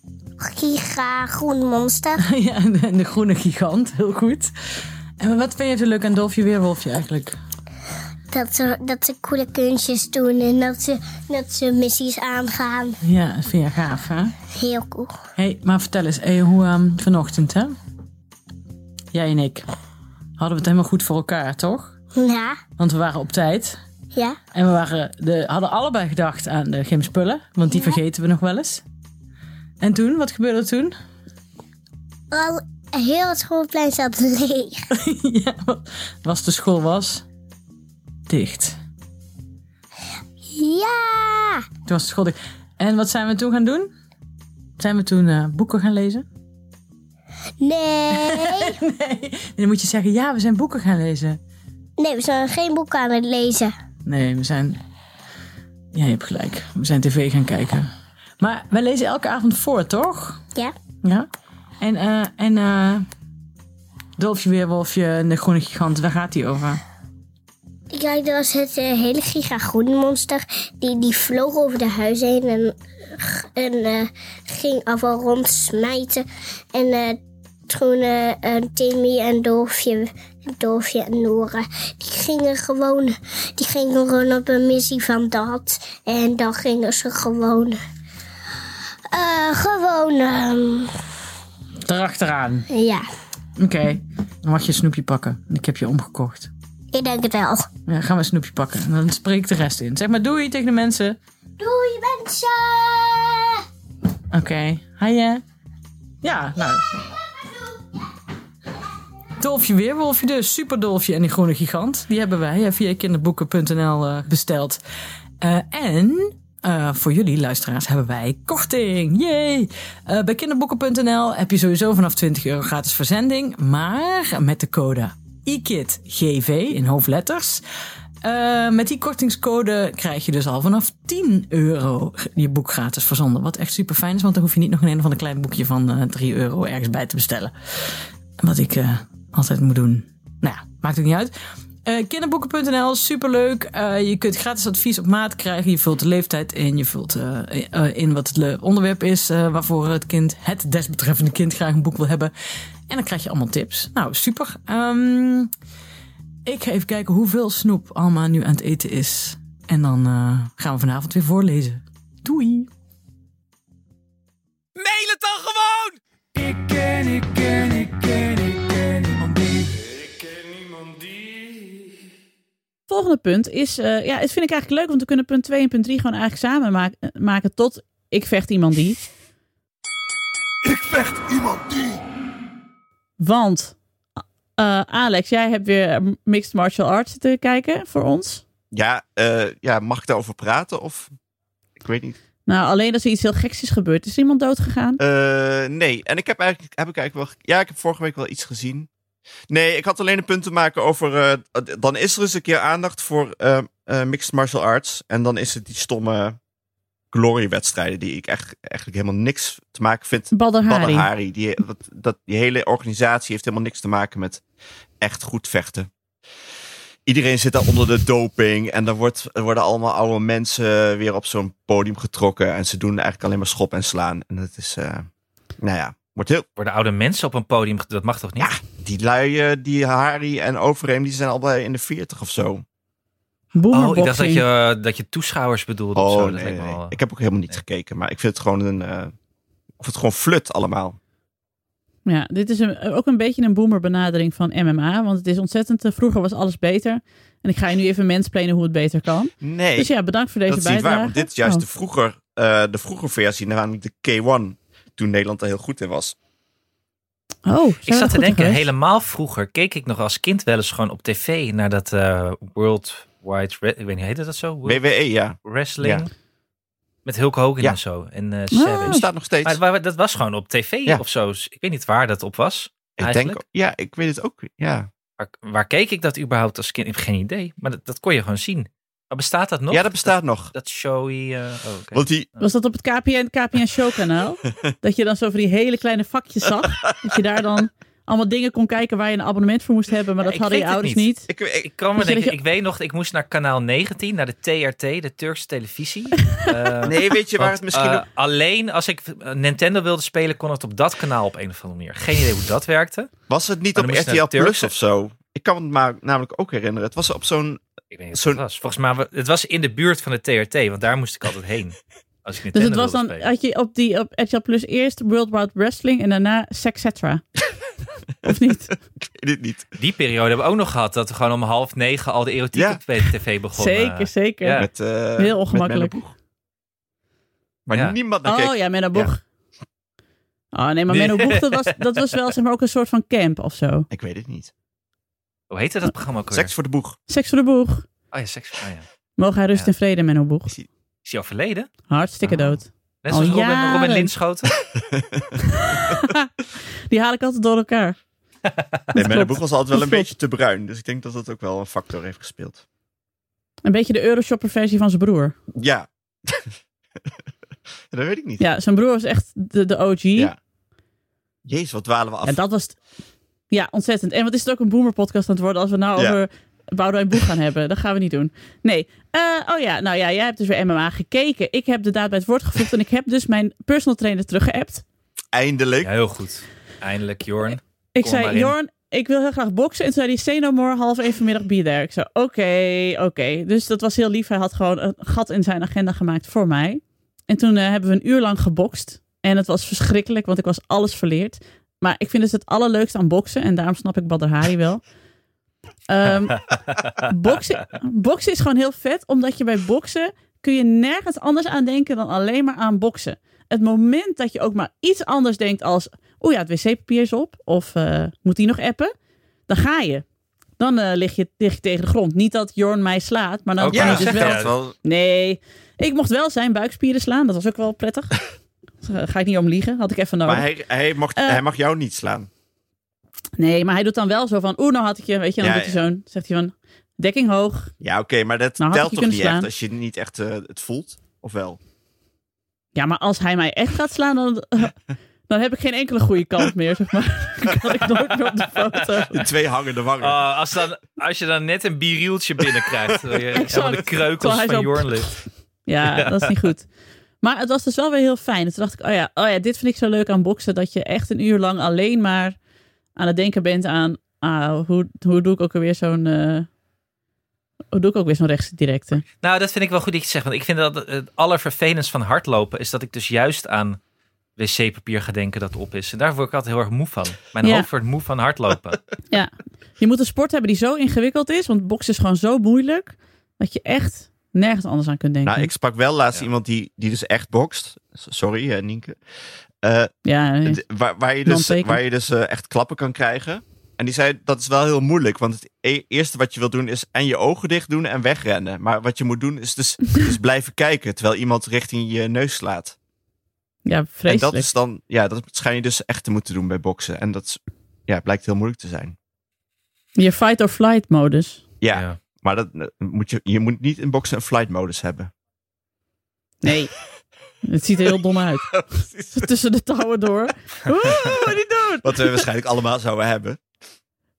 [LAUGHS]
Giga, groen monster.
[LAUGHS] ja, de, de groene gigant, heel goed. En wat vind je zo leuk aan Dolfje Weerwolfje eigenlijk?
Dat ze, dat ze coole kunstjes doen en dat ze, dat ze missies aangaan.
Ja, dat vind je gaaf, hè?
Heel cool.
hey, maar vertel eens, hey, hoe ehm, vanochtend, hè? Jij en ik hadden we het helemaal goed voor elkaar, toch?
Ja,
Want we waren op tijd.
Ja.
En we waren de, hadden allebei gedacht aan de gymspullen, want die vergeten we nog wel eens. En toen, wat gebeurde er toen? [LAUGHS]
Al, heel het schoolplein zat leeg.
ja, was de school was dicht.
Ja.
Toen was de school dicht. En wat zijn we toen gaan doen? Zijn we toen eh, boeken gaan lezen? [LAUGHS]
Nee.
Nee. Dan moet je zeggen, ja, we zijn boeken gaan lezen.
Nee, we zijn geen boek aan het lezen.
Nee, we zijn... Ja, je hebt gelijk. We zijn tv gaan kijken. Maar wij lezen elke avond voor, toch?
Ja.
Ja. En, eh en eh Dolfje Weerwolfje en de Groene Gigant, waar gaat die over?
Ja, dat was het eh, hele giga groene monster. Die, die vloog over de huizen heen en, en eh, ging afval rondsmijten. En eh, toen eh, eh, Timmy en Dolfje, Dolfje en Nora, die gingen gewoon, die gingen gewoon op een missie van dat. En dan gingen ze gewoon, eh, gewoon, ehm,
Erachteraan.
ja,
Oké. Dan mag je een snoepje pakken. Ik heb je omgekocht.
ik denk het wel.
Ja, gaan we een snoepje pakken. En dan spreek de rest in. Zeg maar doei tegen de mensen.
Doei mensen!
Oké. Hi hè. Ja, nou. Dolfje Weerwolfje dus. Super Dolfje en die Groene Gigant. Die hebben wij eh, via kinderboeken.nl eh, besteld. Eh, en eh, voor jullie luisteraars hebben wij korting. Yay! Eh, bij kinderboeken.nl heb je sowieso vanaf 20 euro gratis verzending. Maar met de code IKIDGV in hoofdletters. eh, met die kortingscode krijg je dus al vanaf 10 euro je boek gratis verzonden. Wat echt super fijn is, want dan hoef je niet nog een een of ander klein boekje van eh 3 euro ergens bij te bestellen. Wat ik eh, altijd moet doen. Nou ja, maakt ook niet uit. Eh, kinderboeken.nl, superleuk. Eh, je kunt gratis advies op maat krijgen. Je vult de leeftijd in. Je vult eh, eh, in wat het le- onderwerp is eh, waarvoor het kind, het desbetreffende kind, graag een boek wil hebben. En dan krijg je allemaal tips. Nou, super. Ehm, ik ga even kijken hoeveel snoep Alma nu aan het eten is. En dan eh, gaan we vanavond weer voorlezen. Doei!
Mail het dan gewoon!
Ik ken, ik ken, ik ken, ik ken niemand die. Ik ken niemand die.
Volgende punt is, eh, ja, het vind ik eigenlijk leuk, want we kunnen punt 2 en punt 3 gewoon eigenlijk samen maak- eh, maken tot ik vecht iemand die.
Ik vecht iemand die.
Want eh, Alex, jij hebt weer mixed martial arts te kijken voor ons.
Ja, eh, ja, mag ik daarover praten? Of ik weet niet.
Nou, alleen als er iets heel geks is gebeurd, is iemand doodgegaan.
Eh, nee, en ik heb eigenlijk, heb ik eigenlijk wel. Ja, ik heb vorige week wel iets gezien. Nee, ik had alleen een punt te maken over. eh, d- dan is er eens een keer aandacht voor eh, eh, mixed martial arts. En dan is het die stomme gloriewedstrijden die ik echt, eigenlijk helemaal niks te maken vind.
Badr Hari.
Badahari. Die, dat, dat, die hele organisatie heeft helemaal niks te maken met echt goed vechten. Iedereen zit daar onder de doping. En dan wordt, er worden allemaal oude mensen weer op zo'n podium getrokken. En ze doen eigenlijk alleen maar schop en slaan. En dat is, eh, nou ja, wordt heel...
Worden oude mensen op een podium, ge- dat mag toch niet?
Ja, die lui, eh, die Hari en Overeem, die zijn allebei in de 40 of zo.
oh, ik dacht dat
Boomerboxing.
je, eh, dat je toeschouwers bedoelde of zo.
Oh,
Dat
nee,
lijkt me
nee.
wel, eh,
Ik heb ook helemaal niet gekeken. Maar ik vind het gewoon een... eh, ik vind het gewoon flut allemaal.
Ja, dit is een, ook een beetje een boomer benadering van MMA. Want het is ontzettend, eh, vroeger was alles beter. En ik ga je nu even mensplenen hoe het beter kan.
Nee.
Dus ja, bedankt voor deze
dat is niet
bijdrage.
waar, want dit is juist
Oh.
de, vroeger, eh, de vroeger versie, namelijk de K1, toen Nederland er heel goed in was.
Oh, zijn we
Ik zat
goed
te
in
denken,
geweest?
helemaal vroeger keek ik nog als kind wel eens gewoon op tv naar dat eh, World Wide, Re- ik weet niet, heette dat zo? World
WWE, E, ja.
Wrestling?
Ja.
Met Hulk Hogan
Ja.
en zo. En eh
Ah.
Savage.
Oh.
Bestaat nog steeds.
Maar het wa- dat was gewoon op tv
Ja.
of zo. Dus Ik weet niet waar dat op was.
ik
eigenlijk.
denk, ja, ik weet het ook. Ja,
Waar, waar keek ik dat überhaupt als kind? Ik heb geen idee. Maar dat, dat kon je gewoon zien. Maar bestaat dat nog?
ja dat bestaat nog.
Dat, dat showy... eh, oh, oké.
Want die,
Was dat op het KPN, KPN Show
[LAUGHS]
kanaal? dat je dan zo van die hele kleine vakjes zag. dat je daar dan allemaal dingen kon kijken waar je een abonnement voor moest hebben. Maar
Ja,
dat
ik
hadden je
weet het
ouders
niet.
niet.
ik, ik-
Ik kan me
Weet je
denken,
dat je-
ik weet nog, ik moest naar kanaal 19, naar de TRT, de Turkse televisie.
[LAUGHS]
Eh,
nee, weet je waar
want,
het misschien...
eh,
ook-
alleen als ik eh, Nintendo wilde spelen, kon het op dat kanaal op een of andere manier. Geen idee hoe dat werkte.
was het niet
maar
op
dan moest je
RTL
naar de
Plus
Turkse.
of zo? Ik kan me het maar namelijk ook herinneren. Het was op zo'n...
Ik weet niet wat
Zo'n-
het was. Volgens mij, wa- het was in de buurt van de TRT, want daar moest ik altijd
[LAUGHS]
heen. Als ik Nintendo
Dus het was
wilde
dan,
spelen. [LAUGHS]
had je op, die, op RTL Plus eerst World Wide Wrestling en daarna Sexetra. Of niet?
Ik weet het niet.
Die periode hebben we ook nog gehad. Dat we gewoon om half negen al de erotiek
Ja.
op tv begonnen.
zeker, zeker.
nou ja.
Met, eh,
Heel ongemakkelijk.
met Menno Boeg. maar
Ja.
niemand naar
Oh
keek.
ja, Menno Boeg. Oh nee, maar Menno Boeg, dat was, dat was wel zeg maar ook een soort van camp of zo.
Ik weet het niet.
Hoe heette dat programma ook alweer?
Seks voor de
[LAUGHS]
boeg.
Seks voor de boeg.
Oh ja, seks. Oh ja. Is
Mogen hij rust
Ja. Ah.
en vrede, Menno Boeg.
hij al verleden?
Hartstikke dood.
Net
Al
zoals Robin, Robin
jaren.
[LAUGHS]
Linschoten.
Die haal ik altijd door elkaar.
Nee, Menno
klopt.
Boeg was altijd wel
Dat klopt.
een beetje te bruin. Dus ik denk dat dat ook wel een factor heeft gespeeld.
Een beetje de Euroshopper versie van zijn broer.
[LAUGHS] Ja. dat weet ik niet.
Ja, zijn broer was echt de, de OG.
Ja. Jezus, wat dwalen we af.
En dat was... t- Ja, ontzettend. En wat is het ook een boomer podcast aan het worden als we nou
Ja.
over Boudewijn Boeg gaan [LAUGHS] hebben. Dat gaan we niet doen. Nee. Eh, oh ja, nou ja, jij hebt dus weer MMA gekeken. Ik heb de daad bij het woord gevoegd en ik heb dus mijn personal trainer teruggeappt.
Eindelijk.
Ja, heel goed. Eindelijk, Jorn.
Ik
Kom er maar
zei,
in.
Jorn, ik wil heel graag boksen. En toen zei hij, say no more, half één vanmiddag be there. Ik zei, oké, oké. Dus dat was heel lief. Hij had gewoon een gat in zijn agenda gemaakt voor mij. En toen eh, hebben we een uur lang gebokst. En het was verschrikkelijk, want ik was alles verleerd. Maar ik vind dus het allerleukste aan boksen. En daarom snap ik Badr Hari
[LAUGHS]
wel. Ehm, boksen, boksen is gewoon heel vet, omdat je bij boksen kun je nergens anders aan denken dan alleen maar aan boksen. Het moment dat je ook maar iets anders denkt als, oeh ja, het wc-papier is op, of eh, moet die nog appen? Dan ga je. Dan eh, lig, je, lig je tegen de grond. Niet dat Jorn mij slaat, maar dan
Ook
kan
maar
je dus
zeg
wel.
dat.
wel.
Nee, ik mocht wel zijn buikspieren slaan. Dat was ook wel prettig. [LAUGHS] Daar Ga ik niet om liegen. Had ik even nodig.
Maar hij, hij, mag,
Eh.
hij mag jou niet slaan.
Nee, maar hij doet dan wel zo van... Oeh, nou had ik je... Weet je, dan
Ja,
doet hij zo'n... Zegt hij van... Dekking hoog.
Ja, oké, maar dat
Nou, had ik
telt
je
toch niet
kunnen
echt
slaan.
als je niet echt eh, het voelt? Of wel?
Ja, maar als hij mij echt gaat slaan, dan... [LAUGHS] dan heb ik geen enkele goede kant meer, zeg maar. [LAUGHS] Dan kan ik nooit meer op de foto.
De twee hangende wangen.
Oh, als, dan, als je dan net een bierrieltje
[LAUGHS]
binnenkrijgt. Wil je helemaal de kreukels
Terwijl hij
van
zo-
Jorn ligt.
Ja, dat is niet goed. Maar het was dus wel weer heel fijn. En Toen dacht ik, oh ja, oh ja, dit vind ik zo leuk aan boksen. Dat je echt een uur lang alleen maar aan het denken bent aan... Ah, hoe, hoe doe ik ook alweer zo'n... eh, hoe doe ik ook weer zo'n rechtse directe?
Nou, dat vind ik wel goed dat je het zegt. Want ik vind dat het allervervelendst van hardlopen is dat ik dus juist aan wc-papier ga denken dat op is. En daar word ik altijd heel erg moe van. Mijn
Ja.
hoofd wordt moe van hardlopen.
Ja, je moet een sport hebben die zo ingewikkeld is. Want boksen is gewoon zo moeilijk. Dat je echt nergens anders aan kunt denken.
Nou, ik sprak wel laatst
Ja.
iemand die, die dus echt bokst. S- Sorry, hè, Nienke. Eh,
ja, nee.
d- waar, waar je dus,
Non-teken.
waar je dus eh, echt klappen kan krijgen. En die zei, dat is wel heel moeilijk. Want het e- eerste wat je wil doen is en je ogen dicht doen en wegrennen. Maar wat je moet doen is dus, dus blijven kijken. Terwijl iemand richting je neus slaat.
ja
En
vreselijk.
dat is dan, ja, dat schijn je dus echt te moeten doen bij boksen. En dat is- ja, blijkt heel moeilijk te zijn.
Je fight or flight modus.
[LAUGHS] Ja, maar dat, eh, moet je, je moet niet in boksen een flight modus hebben.
Nee. [LAUGHS] Het ziet er heel dom uit.
[LAUGHS] Oh,
[LAUGHS] Tussen de touwen door. Oeh, niet doen!
Wat we waarschijnlijk allemaal zouden hebben.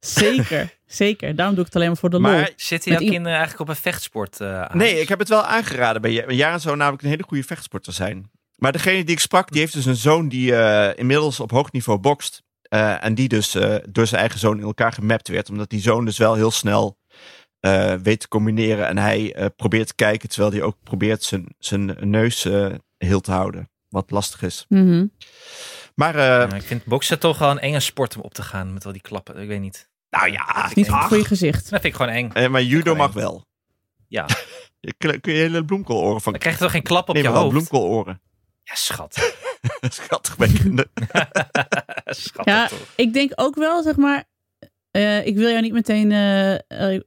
Zeker, zeker. Daarom doe ik het alleen maar voor de lol.
Maar
Zitten
Met
jouw
i-
kinderen eh, eigenlijk op een vechtsport eh, aan?
nee, ik heb het wel aangeraden bij Ja- Jaren zou namelijk een hele goede vechtsporter zijn. Maar degene die ik sprak, die heeft dus een zoon die eh, inmiddels op hoog niveau bokst. Eh, en die dus eh, door zijn eigen zoon in elkaar gemapt werd. Omdat die zoon dus wel heel snel eh, weet te combineren. En hij eh, probeert te kijken, terwijl hij ook probeert zijn, zijn neus eh, heel te houden. Wat lastig is.
Mhm.
Maar eh,
Ja, ik vind boksen toch wel een enge sport om op te gaan met al die klappen. Ik weet niet.
nou ja,
Niet goed
ach.
voor je gezicht.
Dat vind ik gewoon eng.
Eh, maar judo
Klein.
mag wel.
Ja.
[LAUGHS] Je kle- Kun je hele bloemkooloren van
Dan krijg je toch geen klap op
Nee,
je
maar wel
hoofd?
bloemkooloren. [LAUGHS]
Ja, schat.
Schattig bij kinderen.
schat
Ja,
toch.
ik denk ook wel, zeg maar. eh, ik wil jou niet meteen eh, eh,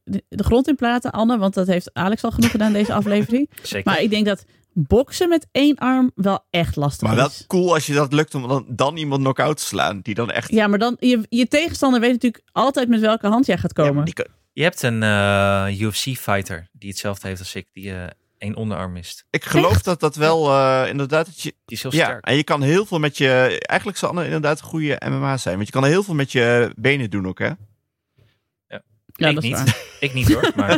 de, de grond in platen, Anne, want dat heeft Alex al genoeg gedaan deze
[LAUGHS]
aflevering.
Zeker.
Maar ik denk dat boksen met één arm wel echt lastig
Maar wel
is.
cool als je dat lukt om dan, dan iemand knock-out te slaan. Die dan echt...
Ja, maar dan, je, je tegenstander weet natuurlijk altijd met welke hand jij gaat
Ja,
komen.
maar die kan-
Je hebt een eh, UFC-fighter die hetzelfde heeft als ik, die eh één onderarm mist.
ik geloof dat dat wel eh, inderdaad... Dat je,
Die is heel
ja,
sterk.
en je kan heel veel met je... Eigenlijk zal Anne inderdaad een goede MMA zijn. Want je kan heel veel met je benen doen ook, hè?
ja,
ik
dat is
niet.
waar.
[LAUGHS] Ik niet hoor. Maar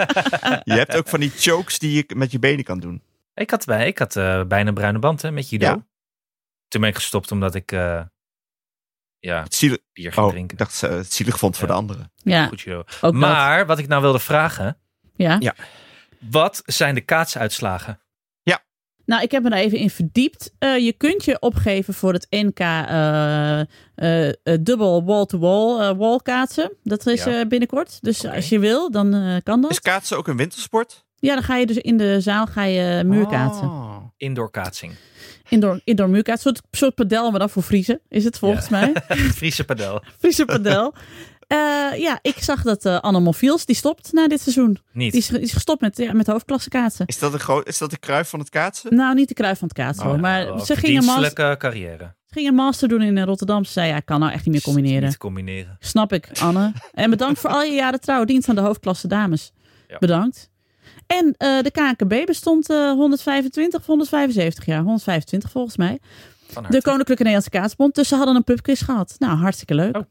[LAUGHS]
Je hebt ook van die chokes die je met je benen kan doen.
ik had, bij, ik had eh, bijna een bruine band hè, met judo.
Ja.
Toen ben ik gestopt omdat ik eh, ja,
Het zielig,
bier ging
oh,
drinken.
ik dacht ze het zielig vond voor
Ja.
de anderen. [LAUGHS]
Ja,
Goed judo.
ook dat.
Maar wat ik nou wilde vragen,
Ja.
Ja.
wat zijn de kaatsuitslagen?
Nou, ik heb me daar even in verdiept. Eh, je kunt je opgeven voor het NK eh, eh, eh, dubbel wall-to-wall eh, wallkaatsen. Dat is
Ja.
eh, binnenkort. Dus als je wil, dan eh, kan dat.
Is kaatsen ook een wintersport?
Ja, dan ga je dus in de zaal ga je eh, muurkaatsen.
Oh.
Indoor
[LAUGHS]
kaatsing.
Indoor, indoor muurkaatsen. Een soort, soort padel, maar dan voor vriezen is het volgens
[LAUGHS]
mij.
Friese padel.
Friese padel. Eh, ja, ik zag dat eh Anne Mofiels, die stopt na dit seizoen.
Niet.
Die is, die is gestopt met, ja, met hoofdklasse kaatsen.
Is dat, een groot, is dat de kruif van het kaatsen?
Nou, niet de kruif van het kaatsen hoor.
Oh,
Maar
oh,
ze ging een, mas-
verdienstelijke carrière.
ging een master doen in eh, Rotterdam. Ze zei, ja, ik kan nou echt niet meer combineren.
Niet combineren.
Snap ik, Anne. En bedankt voor al je jaren trouw dienst aan de hoofdklasse dames.
Ja.
Bedankt. En eh, de KNKB bestond eh 125 of 175 jaar. 125 volgens mij.
Van harte.
De Koninklijke Nederlandse Kaatsbond. Dus ze hadden een pubquiz gehad. Nou, hartstikke leuk.
Oh.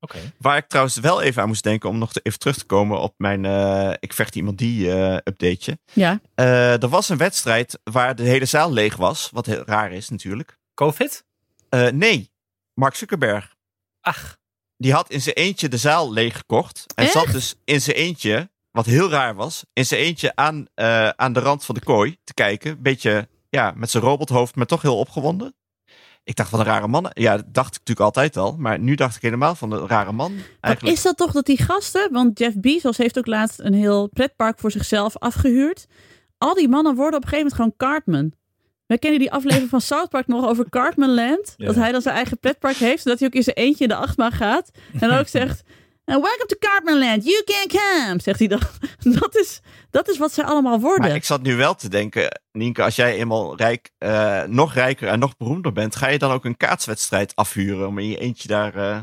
Oké.
Waar ik trouwens wel even aan moest denken om nog te- even terug te komen op mijn eh, ik vecht iemand die eh updateje.
Ja.
Eh, er was een wedstrijd waar de hele zaal leeg was, wat heel raar is natuurlijk.
Covid?
Eh, nee, Mark Zuckerberg.
Ach,
Die had in zijn eentje de zaal leeggekocht. En
Echt?
zat dus in zijn eentje, wat heel raar was, in zijn eentje aan, eh, aan de rand van de kooi te kijken. Beetje ja, met zijn robothoofd, maar toch heel opgewonden. Ik dacht, wat een rare man. Ja, dat dacht ik natuurlijk altijd al. Maar nu dacht ik helemaal van een rare man.
Wat
Eigenlijk.
is dat toch dat die gasten... Want Jeff Bezos heeft ook laatst een heel pretpark voor zichzelf afgehuurd. Al die mannen worden op een gegeven moment gewoon Cartman. Wij kennen die aflevering van South Park nog over Cartman Land.
Ja.
Dat hij dan zijn eigen pretpark heeft. Zodat hij ook in zijn eentje in de achtbaan gaat. En dan ook zegt... "Uh, welcome to Cartman Land. You can come. Zegt hij dan. [LAUGHS] Dat is, dat is wat zij allemaal worden.
Maar ik zat nu wel te denken, Nienke, als jij eenmaal rijk, eh, nog rijker en nog beroemder bent, ga je dan ook een kaatswedstrijd afhuren om in je eentje daar. eh,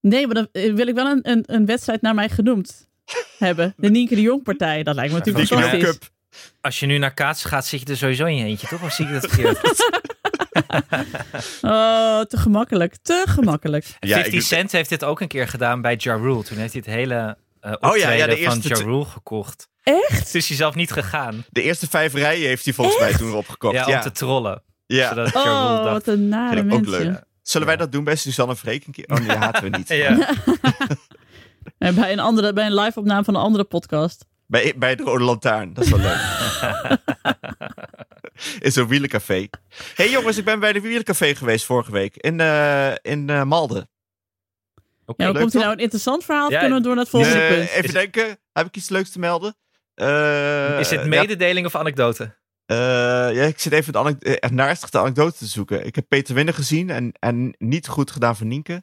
Nee, maar dan eh, wil ik wel een, een, een wedstrijd naar mij genoemd hebben. De Nienke de Jong partij. Dat lijkt me natuurlijk
Nienke de Jong
fantastisch.
als je nu naar kaatsen gaat, zit je er sowieso in je eentje, toch? Of zie ik
[LAUGHS]
dat verkeerd?
Oh, te gemakkelijk. Te gemakkelijk.
50
ik-
Cent heeft dit ook een keer gedaan bij Ja Rule. Toen heeft hij het hele eh
ja, Oh ja,
optreden
de
van
eerste
Ja
twee-
Rule gekocht.
Echt?
Toen is hij zelf niet gegaan.
De eerste vijf rijen heeft hij volgens mij toen opgekocht.
Ja,
Ja,
om
ja.
te trollen.
ja.
Zodat Ja Rule
Oh,
dacht,
wat een nare
[LAUGHS] Vind ik ook
mensen.
leuk. Zullen wij dat doen bij Suzanne Freek een keer? Oh, nee, haten we niet.
[LAUGHS] ja.
En bij een, andere, bij een live opname van een andere podcast.
Bij, bij de Rode Lantaarn, dat is wel
[LAUGHS]
leuk. in zo'n wielencafé. hey, jongens, ik ben bij de wielencafé geweest vorige week in, eh, in eh, Malden.
Ja,
Oké.
hoe komt
leuk,
hier
toch?
nou een interessant verhaal? Of
Ja,
kunnen we door naar het volgende
Eh,
punt?
even denken, heb ik iets leuks te melden? Eh,
Is het
ja,
mededeling of anekdote?
Eh, ja, ik zit even de anek- eh, echt naastige anekdote te zoeken. Ik heb Peter Winnen gezien en, en niet goed gedaan van Nienke.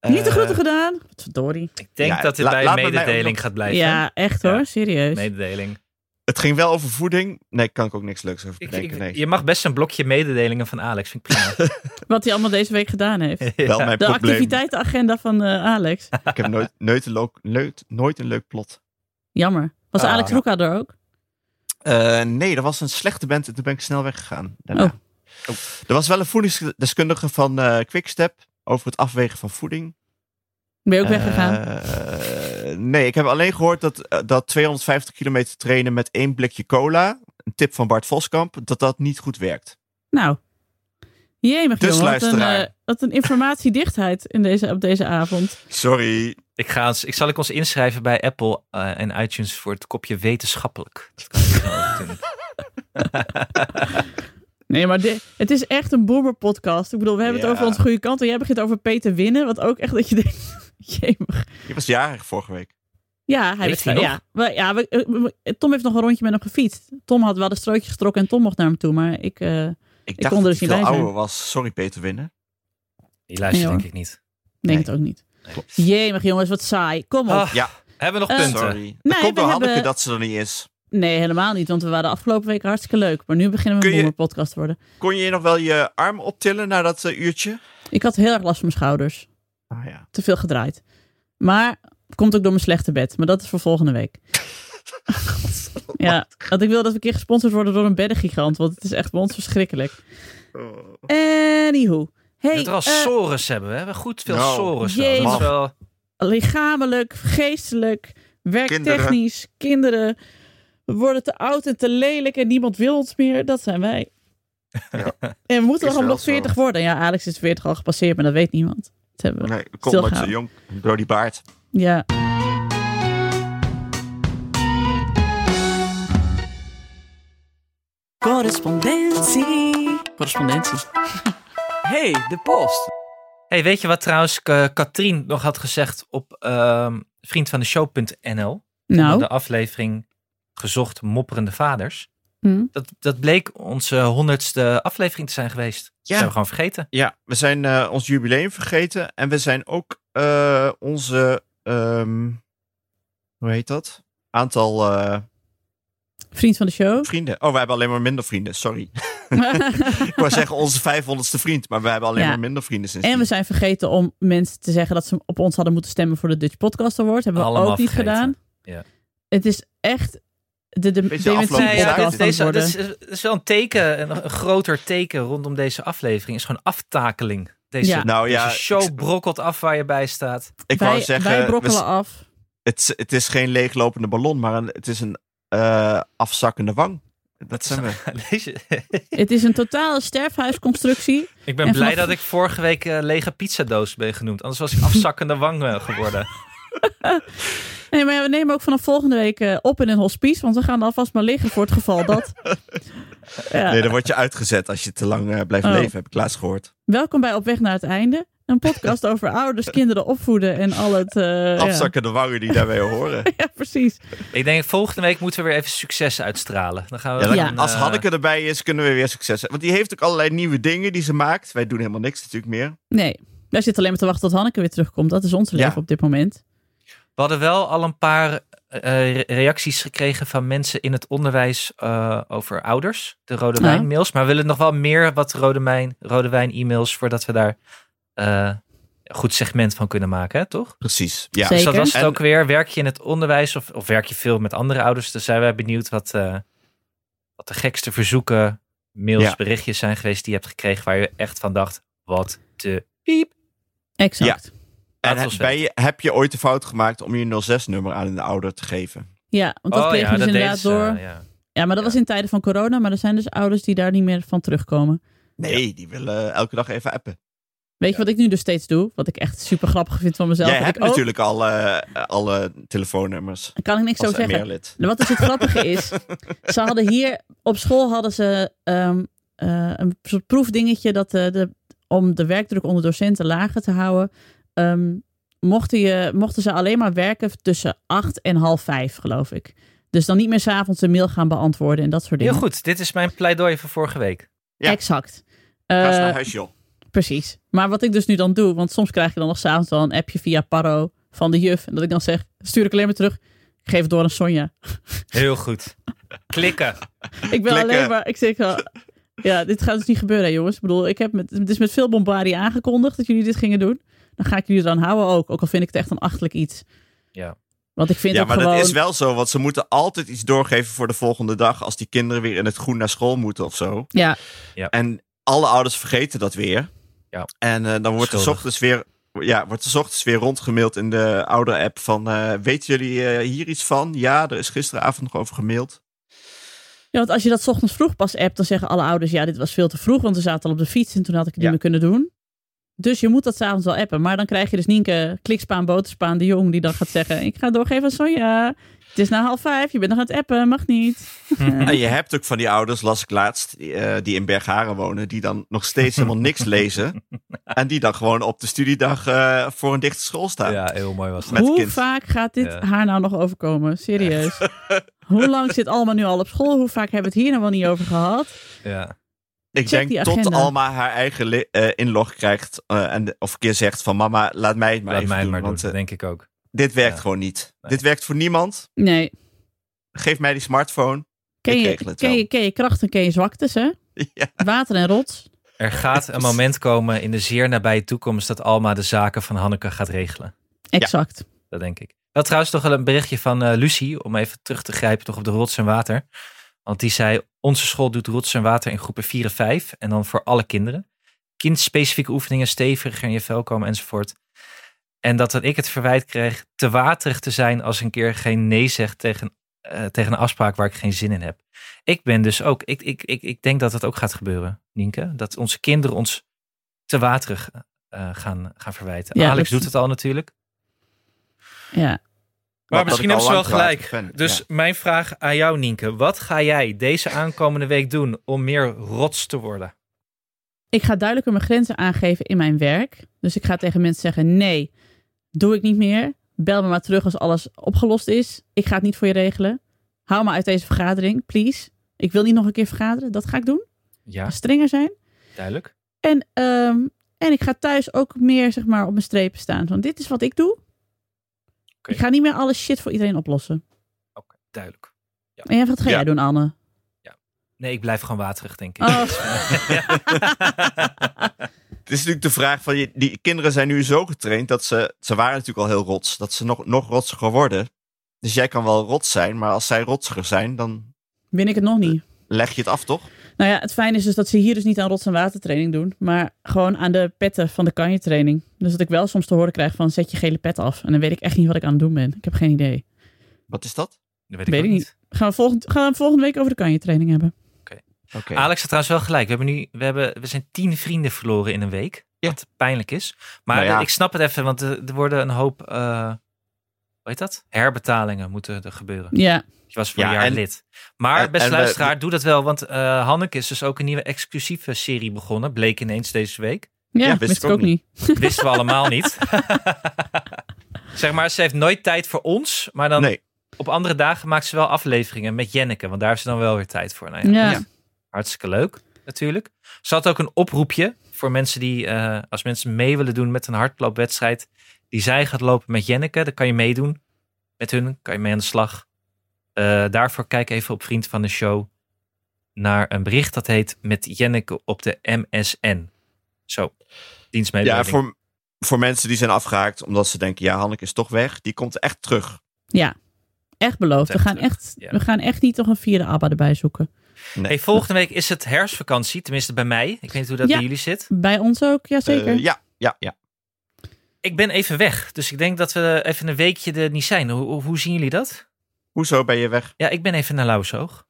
Niet de
Eh,
groeten gedaan. Wat verdorie.
Ik denk
Ja,
dat dit
la-
bij
laat me mij
mededeling
omdat-
gaat blijven.
Ja, echt hoor.
Ja.
Serieus.
Mededeling.
Het ging wel over voeding. Nee, kan ik ook niks leuks over
Ik-
bedenken.
ik-
nee.
Je mag best een blokje mededelingen van Alex. Vind ik
[LAUGHS]
prima.
Wat hij allemaal deze week gedaan heeft. De
Wel mijn probleem.
activiteitenagenda van eh, Alex.
Ik heb nooit, nooit, een leuk- leuk- nooit een leuk plot.
Jammer. Was
Ah.
Alex Roeka er ook?
Eh, nee, er was een slechte band en toen ben ik snel weggegaan. Daarna.
Oh.
Er was wel een voedingsdeskundige van eh Quickstep over het afwegen van voeding.
Ben je ook weggegaan?
Eh, nee, ik heb alleen gehoord dat, eh, dat 250 kilometer trainen met één blikje cola, een tip van Bart Voskamp, dat dat niet goed werkt.
Nou. Jemig,
Dus
jongen. Wat een,
luisteraar.
eh, wat een informatiedichtheid in deze, op deze avond.
Sorry.
ik, ga ons, ik zal ik ons inschrijven bij Apple eh, en iTunes voor het kopje wetenschappelijk. Dat kan ik wel doen.
Nee, maar dit- het is echt een boomer-podcast. Ik bedoel, we hebben
Ja.
het over onze goede kant. En jij begint over Peter Winnen. Wat ook echt dat je denkt... [LAUGHS] Jemig.
Je was jarig vorige week.
Ja, hij
Leeft
is-
hij nog?
ja, we, ja we- eh, we- Tom heeft nog een rondje met hem gefietst. Tom had wel de strootjes getrokken en Tom mocht naar hem toe. Maar ik, eh,
Ik
kon
dacht
er dus
dat hij
niet bij
veel
zijn.
ouder was. Sorry Peter Winnen.
Die luistert
Ja, hoor.
denk ik niet.
denk
Nee.
het ook niet.
Klopt.
Jemig jongens, wat saai. Kom op.
Ah,
Ja.
Hebben we nog
Eh,
punten?
Sorry. Het
Nee,
komt
we
door Hanneke
hebben-
dat ze er niet is.
Nee, helemaal niet. Want we waren afgelopen week hartstikke leuk. Maar nu beginnen we een
Kun je-
boomerpodcast te worden.
Kon je nog wel je arm optillen na dat eh, uurtje?
Ik had heel erg last van mijn schouders.
Ah ja.
Te veel gedraaid. Maar het komt ook door mijn slechte bed. Maar dat is voor volgende week.
[LAUGHS]
ja, want ik wil dat we een keer gesponsord worden door een beddengigant. Want het is echt bij ons verschrikkelijk.
Oh.
Anywho. Hey,
dat we al
eh,
sores hebben. We hebben goed veel
Nou,
sores. wel.
jezus.
Dat is wel-
lichamelijk, geestelijk, werktechnisch, kinderen. We worden te oud en te lelijk en niemand wil ons meer. Dat zijn wij. En we moeten nog
Is wel
nog 40 worden. Ja, Alex is 40 al gepasseerd, maar dat weet niemand. Dat hebben we.
Nee, ik kom nooit zo
Stilgaan.
jong. Door die baard.
Ja.
Got Correspondentie.
[LAUGHS]
Correspondentie.
Hey, de post.
Hey, weet je wat trouwens eh, Katrien nog had gezegd op ehm vriendvandeshow.nl?
Nou,
De aflevering Gezocht Mopperende Vaders.
hm.
Dat, dat bleek onze honderdste aflevering te zijn geweest. Dat
Ja.
zijn we gewoon vergeten.
Ja, we zijn eh, ons jubileum vergeten. En we zijn ook eh, onze, ehm, hoe heet dat? Aantal eh,
vriend van de
[LAUGHS]
show.
vrienden. Oh, we hebben alleen maar minder vrienden, sorry. [LAUGHS] Ik wou zeggen onze 500ste vriend, maar we hebben alleen
Ja.
maar minder vrienden sinds.
en we zijn vergeten om mensen te zeggen dat ze op ons hadden moeten stemmen voor de Dutch Podcast Award. Hebben we
Allemaal
ook niet
vergeten.
gedaan.
Ja.
Het is echt de, de
Beetje afloop
dementie
van
Nee, ja, dit,
zaken.
podcast aan het
deze, dit
worden.
is, dit is wel een teken, een, een groter teken rondom deze aflevering. Is gewoon aftakeling. Deze,
Ja.
Nou ja,
deze
ik-
show brokkelt af waar je bij
[LAUGHS]
staat.
Ik wou
Wij,
zeggen,
wij
we
brokkelen af.
Het, het is geen leeglopende ballon, maar een- het is een eh, afzakkende wang. Dat zijn we.
[LAUGHS]
Deze-
Het is een totale sterfhuisconstructie.
ik ben
En
blij
vanaf-
dat ik vorige week eh, lege pizzadoos ben genoemd. Anders was ik afzakkende wang eh, [LAUGHS] geworden.
Nee, maar ja, we nemen ook vanaf volgende week eh, op in een hospice. Want we gaan alvast maar liggen voor het geval
[LAUGHS]
dat. Ja.
Nee, dan word je uitgezet als je te lang eh, blijft
Oh.
leven, heb ik laatst gehoord.
Welkom bij Op Weg naar het Einde. Een podcast over ouders, kinderen opvoeden en al het... eh, ja.
Afzakkende wangen die daarbij horen.
ja, [LAUGHS] precies.
Ik denk volgende week moeten we weer even succes uitstralen. Dan gaan we
Ja, dan-
Ja.
een,
Als
eh,
Hanneke erbij is, kunnen we weer succes hebben. Want die heeft ook allerlei nieuwe dingen die ze maakt. Wij doen helemaal niks natuurlijk meer.
Nee, wij zitten alleen maar te wachten tot Hanneke weer terugkomt. Dat is ons leven
Ja.
op dit moment.
We hadden wel al een paar eh, re- reacties gekregen van mensen in het onderwijs eh, over ouders. De Rode
Ah.
Wijn mails. Maar we willen nog wel meer wat Rode Wijn, Rode Wijn e-mails voordat we daar eh, een goed segment van kunnen maken, hè, toch?
Precies. Ja.
Zeker.
Dus dat was het
En-
ook weer. Werk je in het onderwijs of, of werk je veel met andere ouders? Dan zijn wij benieuwd wat, eh, wat de gekste verzoeken, mails,
Ja.
berichtjes zijn geweest die je hebt gekregen waar je echt van dacht, wat de piep.
Exact.
En
Laat ons
heb- bij je, heb je ooit de fout gemaakt om je 06-nummer aan een ouder te geven?
Ja, want dat
Oh
kregen
ja,
we dus
dat deden
inderdaad
ze,
door. ja.
ja.
maar dat was in tijden van corona. Maar er zijn dus ouders die daar niet meer van terugkomen.
Nee, die willen elke dag even appen.
Weet je wat ik nu dus steeds doe? Wat ik echt super grappig vind van mezelf.
Jij
dat
hebt
ik ook-
natuurlijk al eh, alle telefoonnummers
Kan ik niks zo
als
zeggen.
MER-lid.
Nou, Wat dus het grappige is, ze hadden hier op school hadden ze ehm, eh, een soort proefdingetje dat eh, de, om de werkdruk onder docenten lager te houden. ehm, mochten, je, mochten ze alleen maar werken tussen acht en half vijf, geloof ik. Dus dan niet meer s'avonds een mail gaan beantwoorden en dat soort dingen.
Heel goed, dit is mijn pleidooi van vorige week.
ja.
Exact.
Ga eens
Eh,
naar huis, joh.
Precies. Maar wat ik dus nu dan doe, want soms krijg je dan nog s'avonds wel een appje via Paro van de juf. En dat ik dan zeg, stuur ik alleen maar terug. Ik geef het door aan Sonja.
Heel goed. Klikken.
Ik ben
Klikken.
alleen maar. Ik zeg wel. Ja, dit gaat dus niet gebeuren, hè, jongens. Ik bedoel, ik heb met, het is met veel bombardie aangekondigd dat jullie dit gingen doen. Dan ga ik jullie eraan houden ook. Ook al vind ik het echt een achterlijk iets.
Ja.
Want ik vind
Ja,
ook
maar
gewoon.
dat is wel zo, want ze moeten altijd iets doorgeven voor de volgende dag als die kinderen weer in het groen naar school moeten of zo.
Ja.
Ja.
En alle ouders vergeten dat weer.
Ja.
En eh, dan wordt er, s
Schuldig.
ochtends weer, ja, wordt er s ochtends weer rondgemaild in de ouder-app van, eh, weten jullie eh, hier iets van? Ja, er is gisteravond nog over gemaild.
Ja, want als je dat 's ochtends vroeg pas appt, dan zeggen alle ouders: ja, dit was veel te vroeg, want we zaten al op de fiets en toen had ik het
Ja.
niet meer kunnen doen. Dus je moet dat s'avonds wel appen. Maar dan krijg je dus Nienke, klikspaan, boterspaan, de jong, die dan gaat zeggen: Ik ga doorgeven aan Sonja. Het is na half vijf, je bent nog aan het appen, mag niet.
En je hebt ook van die ouders, las ik laatst, die, eh, die in Bergharen wonen, die dan nog steeds helemaal
[LAUGHS]
niks lezen. En die dan gewoon op de studiedag eh, voor een dichte school staan.
Ja, heel mooi was dat.
Met
Hoe
kind.
vaak gaat dit
Ja.
haar nou nog overkomen? Serieus.
[LAUGHS]
Hoe lang zit Alma nu al op school? Hoe vaak hebben we het hier nou wel niet over gehad?
Ja.
Ik
Check die
denk tot
agenda.
Alma haar eigen li- eh, inlog krijgt. eh, en de- of een keer zegt van mama, laat mij het maar
Laat
even
mij
doen.
maar doen,
want eh,
denk ik ook.
dit werkt
Ja.
gewoon niet.
Nee.
Dit werkt voor niemand.
Nee.
Geef mij die smartphone. [LAUGHS]
Ken
Ik
je,
regel het
ken,
wel.
je, ken je krachten, ken je zwaktes, hè?
ja.
Water en rots.
Er gaat
[LAUGHS]
een moment komen in de zeer nabije toekomst dat Alma de zaken van Hanneke gaat regelen.
Exact.
Dat denk ik. Wel trouwens toch wel een berichtje van eh, Lucie, om even terug te grijpen toch op de rots en water. Want die zei, onze school doet rots en water in groepen 4 en 5 en dan voor alle kinderen. Kindspecifieke oefeningen, steviger in je vel komen enzovoort. En dat dan ik het verwijt kreeg te waterig te zijn als een keer geen nee zegt tegen, eh, tegen een afspraak waar ik geen zin in heb. Ik ben dus ook, ik, ik, ik, ik denk dat dat ook gaat gebeuren, Nienke. Dat onze kinderen ons te waterig eh, gaan, gaan verwijten.
Ja,
Alex
dat-
doet het al natuurlijk.
Ja.
Maar
dat
misschien
ik al
hebben ze wel
lang
gelijk.
kwaad ben.
dus
Ja.
mijn vraag aan jou, Nienke. Wat ga jij deze aankomende week doen om meer rots te worden?
Ik ga duidelijker mijn grenzen aangeven in mijn werk. Dus ik ga tegen mensen zeggen: nee, doe ik niet meer. Bel me maar terug als alles opgelost is. Ik ga het niet voor je regelen. Hou me uit deze vergadering, please. Ik wil niet nog een keer vergaderen. Dat ga ik doen.
Ja,
Strenger zijn.
duidelijk.
En, ehm, en ik ga thuis ook meer zeg maar, op mijn strepen staan. Van dit is wat ik doe.
Oké.
Ik ga niet meer alle shit voor iedereen oplossen.
Oké, duidelijk.
En jij, wat ga
Ja.
jij doen,
[LAUGHS]
Anne?
Nee, ik blijf gewoon waterig, denk ik.
Oh,
Het is natuurlijk de vraag van, je, die kinderen zijn nu zo getraind dat ze, ze waren natuurlijk al heel rots, dat ze nog, nog rotsiger worden. Dus jij kan wel rots zijn, maar als zij rotsiger zijn, dan
win ik het nog niet.
leg je het af, toch?
Nou ja, het fijne is dus dat ze hier dus niet aan rots- en watertraining doen, maar gewoon aan de petten van de kanjetraining. Dus dat ik wel soms te horen krijg van zet je gele pet af. En dan weet ik echt niet wat ik aan het doen ben. Ik heb geen idee.
Wat is dat?
Dat weet
weet
ook
ik Gaan we, volgend, gaan we volgende week over de kanjetraining hebben.
Oké.
Alex had trouwens wel gelijk. We, hebben nu, we, hebben, we zijn tien vrienden verloren in een week.
Ja.
Wat pijnlijk is. Maar
Nou ja.
ik snap het even, want er er worden een hoop... eh, hoe heet dat? Herbetalingen moeten er gebeuren.
Ja,
Je was voor
Ja,
een jaar
en-
lid. Maar
en-
beste
en we-
luisteraar, doe dat wel. Want eh, Hanneke is dus ook een nieuwe exclusieve serie begonnen. Bleek ineens deze week.
ja,
Ja,
wist ik ook niet.
Wisten we allemaal niet. [LAUGHS] zeg maar, ze heeft nooit tijd voor ons. Maar dan
Nee,
op andere dagen maakt ze wel afleveringen met Jenneke. Want daar heeft ze dan wel weer tijd voor. Nou ja,
Ja.
Ja.
Hartstikke leuk, natuurlijk. Ze had ook een oproepje voor mensen die, eh, als mensen mee willen doen met een hardloopwedstrijd, die zij gaat lopen met Jenneke, dan kan je meedoen. Met hun kan je mee aan de slag. Eh, daarvoor kijk even op Vriend van de Show naar een bericht dat heet Met Jenneke op de MSN. Zo, dienstmededeling.
ja, voor, voor mensen die zijn afgehaakt omdat ze denken, ja, Hanneke is toch weg, die komt echt terug.
Ja, echt beloofd. We
Echt
gaan
terug.
echt,
Ja.
we gaan echt niet nog een vierde ABBA erbij zoeken.
Nee. Eh,
Hey, volgende week is het herfstvakantie, tenminste bij mij. Ik weet niet hoe dat
Ja.
bij jullie zit.
Bij ons ook, jazeker.
Eh, ja, ja, ja.
Ik ben even weg, dus ik denk dat we even een weekje er niet zijn. Hoe, hoe zien jullie dat?
Hoezo ben je weg?
Ja, ik ben even naar Lauwsoog.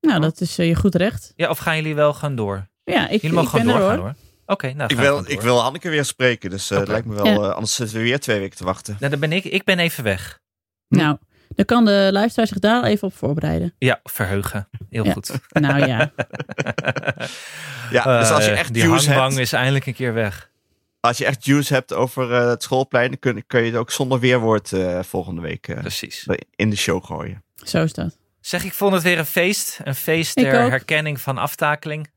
Nou, dat is eh, je goed recht.
Ja, of gaan jullie wel gaan door?
Ja, ik,
Jullie mogen
ik ben
gewoon
er hoor.
doorgaan hoor. Oké, nou
Ik
gaan we
wil,
gewoon
ik
door.
wil Hanneke weer spreken, dus eh,
Oké.
het lijkt me wel,
Ja.
eh, anders zitten we weer twee weken te wachten.
Nou, dan ben ik, ik ben even weg.
Nou, dan kan de luisteraar zich daar even op [LAUGHS] voorbereiden.
Ja, verheugen. Heel
Ja. [LAUGHS]
goed.
Nou ja,
Ja, dus als je
Eh,
echt
die
juice
hangbang
hebt,
is eindelijk een keer weg.
als je echt juice hebt over eh, het schoolplein, dan kun, kun je het ook zonder weerwoord eh, volgende week eh,
Precies.
in de show gooien.
zo is dat.
Zeg, ik vond het weer een feest. Een feest
Ik
ter
ook.
herkenning van aftakeling.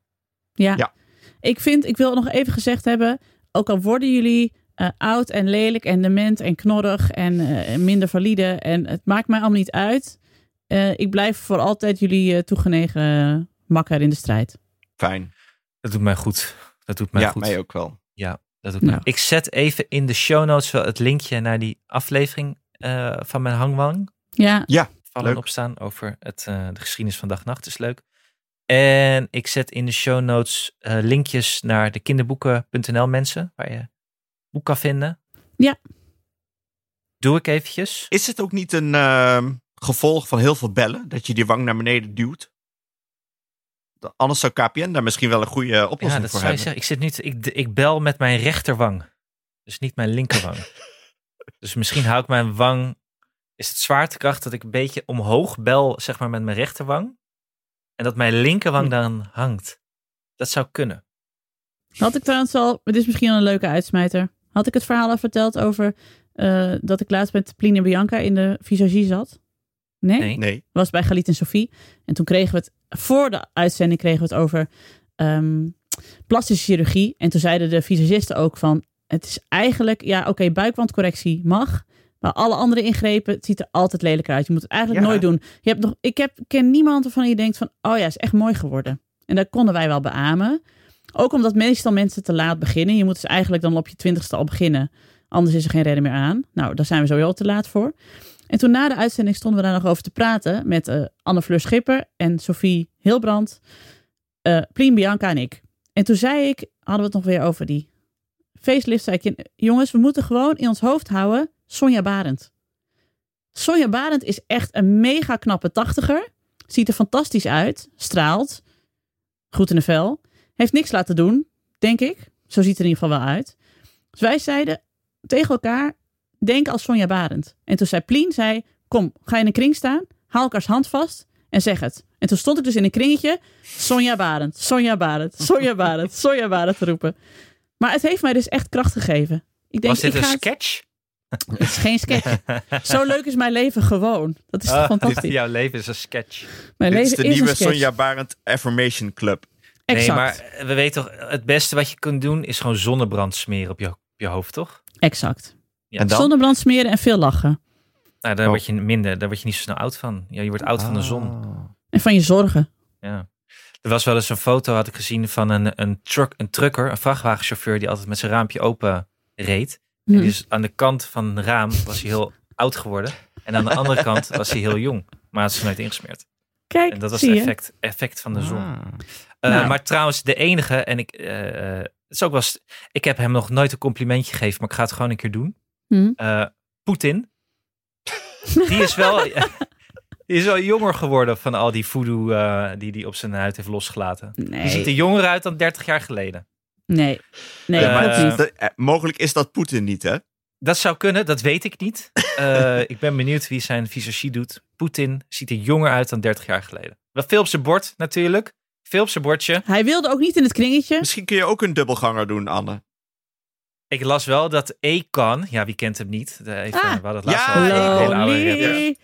Ja.
Ja.
Ik vind, ik wil nog even gezegd hebben, ook al worden jullie eh, oud en lelijk en dement en knorrig en eh, minder valide en het maakt mij allemaal niet uit. Eh, ik blijf voor altijd jullie eh, toegenegen eh, makker in de strijd.
Fijn.
Dat doet mij goed. Dat doet mij
ja,
goed.
mij ook wel.
Dat doet
Ja.
mij- Ik zet even in de show notes wel het linkje naar die aflevering eh, van mijn hangwang.
Ja,
vallen
Leuk.
opstaan over het, eh, de geschiedenis van dag-nacht. is leuk. En ik zet in de show notes eh, linkjes naar de kinderboeken.nl mensen, waar je boek kan vinden.
Ja.
Doe ik eventjes.
Is het ook niet een ehm, gevolg van heel veel bellen, dat je die wang naar beneden duwt? Dan- Anders zou KPN daar misschien wel een goede eh,
Ja,
oplossing
dat
voor
zou je
hebben.
zeggen. Ik, zit niet, ik, ik bel met mijn rechterwang. Dus niet mijn linkerwang.
[LAUGHS]
dus misschien hou ik mijn wang... Is het zwaartekracht dat ik een beetje omhoog bel, zeg maar, met mijn rechterwang? En dat mijn
Hm.
linkerwang dan hangt. Dat zou kunnen.
had ik trouwens al, het is misschien wel een leuke uitsmijter. Had ik het verhaal al verteld over eh, dat ik laatst met Pline en Bianca in de visagie zat? Nee?
Nee.
Nee,
was bij Galit en Sophie. En toen kregen we het, voor de uitzending kregen we het over ehm, plastische chirurgie. En toen zeiden de visagisten ook van, het is eigenlijk, ja oké, buikwandcorrectie mag. Maar alle andere ingrepen, het ziet er altijd lelijk uit. Je moet het eigenlijk
Ja.
nooit doen. Je hebt nog, ik heb, ken niemand waarvan je denkt van, oh ja, is echt mooi geworden. En dat konden wij wel beamen. Ook omdat meestal mensen te laat beginnen. Je moet dus eigenlijk dan op je twintigste al beginnen. Anders is er geen reden meer aan. Nou, daar zijn we sowieso al te laat voor. En toen na de uitzending stonden we daar nog over te praten met eh, Anne-Fleur Schipper en Sophie Hilbrand, eh Plien, Bianca en ik. En toen zei ik, hadden we het nog weer over die facelift, zei ik, jongens, we moeten gewoon in ons hoofd houden Sonja Barend. Sonja Barend is echt een mega knappe tachtiger. Ziet er fantastisch uit, straalt, goed in de vel. Heeft niks laten doen, denk ik. Zo ziet het er in ieder geval wel uit. Dus wij zeiden tegen elkaar, denk als Sonja Barend. En toen zei Plien, zei, kom, ga in een kring staan, haal elkaars hand vast en zeg het. En toen stond ik dus in een kringetje, Sonja Barend, Sonja Barend, Sonja Barend, Sonja Barend te roepen. Maar het heeft mij dus echt kracht gegeven. Ik denk,
Was dit
ik
een
ga [LAUGHS] het-
sketch?
Het is geen sketch.
[LAUGHS]
Zo leuk is mijn leven gewoon. Dat is toch
Ah,
fantastisch.
dit- jouw leven is een sketch.
Mijn
Dit
leven
is de
is
nieuwe
een sketch.
Sonja Barend Affirmation Club.
Exact.
Nee, maar we weten toch, het beste wat je kunt doen is gewoon zonnebrand smeren op je, op je hoofd, toch?
exact.
Ja.
En dan?
Zonnebrand smeren en veel lachen.
Nou, daar
Oh. Ah.
word je minder, daar word je niet zo snel oud van. Ja, je wordt oud
Ah.
van de zon.
En van je zorgen.
Ja. Er was wel eens een foto, had ik gezien, van een, een, truck, een trucker, een vrachtwagenchauffeur, die altijd met zijn raampje open reed.
Hm.
En dus aan de kant van het raam was hij heel oud geworden. En aan de andere kant was hij heel jong. Maar had ze nooit ingesmeerd.
Kijk,
En dat was
zie
het
je.
effect, effect van de zon. Eh,
Nou.
Maar trouwens, de enige, en ik, eh, eh, het is ook wel eens- ik heb hem nog nooit een complimentje gegeven, maar ik ga het gewoon een keer doen.
Hm.
Eh, Poetin. die is
[LAUGHS]
wel. Die is wel jonger geworden van al die voodoo eh, die hij op zijn huid heeft losgelaten. Die ziet er
Nee,
jonger uit dan 30 jaar geleden.
nee, nee,
Ja, maar
klopt
het-
niet.
Dat- eh, mogelijk is dat Poetin niet, hè?
Dat zou kunnen, dat weet ik niet. Eh, ik ben benieuwd wie zijn visagie doet. Poetin ziet er jonger uit dan 30 jaar geleden. Wel veel op zijn bord natuurlijk. Veel op zijn bordje.
Hij wilde ook niet in het kringetje.
Misschien kun je ook een dubbelganger doen, Anne.
Ik las wel dat Ekan, ja wie kent hem niet? De, even,
Ah.
we hadden het laatst
Ja,
al over een hele oude rapper.
Lonely,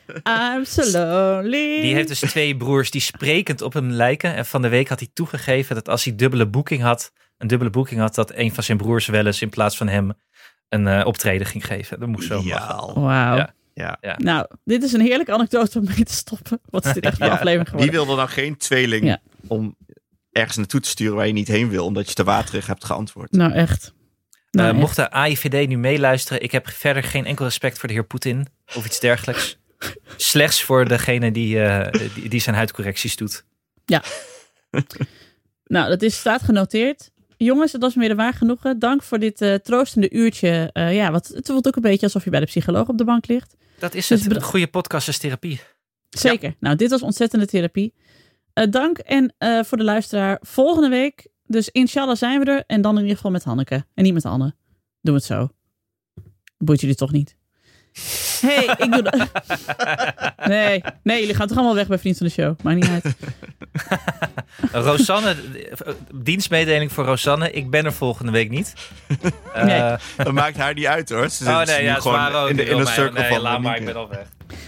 I'm so lonely.
Die heeft dus twee broers die sprekend op hem lijken. En van de week had hij toegegeven dat als hij dubbele boeking had, een dubbele boeking had, dat een van zijn broers wel eens in plaats van hem een eh, optreden ging geven. Dat moest Eh, zo. Ja.
Ideaal.
Wauw.
Ja.
Ja.
Nou, dit is een heerlijke anekdote om mee te stoppen. Wat is dit echt een
Ja,
aflevering geworden?
Wie wil er nou geen tweeling
Ja.
om ergens naartoe te sturen waar je niet heen wil, omdat je te waterig hebt geantwoord?
Nou, echt. Nou, echt.
Eh, mocht de AIVD nu meeluisteren, ik heb verder geen enkel respect voor de heer Poetin of iets dergelijks. Slechts voor degene die, eh, die, die zijn huidcorrecties doet.
Nou, dat is, staat genoteerd. Jongens, dat was me weer een waar genoegen. Dank voor dit eh, troostende uurtje. Eh, ja, wat, het voelt ook een beetje alsof je bij de psycholoog op de bank ligt.
Dat is
Dus
het.
bedo-
Een goede podcast is therapie.
Zeker. Nou, dit was ontzettende therapie. Eh, dank en eh, voor de luisteraar. Volgende week, dus inshallah zijn we er. En dan in ieder geval met Hanneke. En niet met Anne. Doen we het zo. Boeit jullie toch niet? hey, ik doe dat. [LAUGHS] Nee, nee, jullie gaan toch allemaal weg bij Vriend van de Show. Maakt niet uit.
Rosanne, eh, dienstmededeling voor Rosanne. Ik ben er volgende week niet. Eh,
Nee.
Dat maakt haar niet uit hoor. Ze
Oh
zit
nee,
Dus nu
ja,
gewoon
zwaar ook.
in de
joh,
inner
maar-
circle
nee,
van
laat maar, ik
Monique.
ben al weg.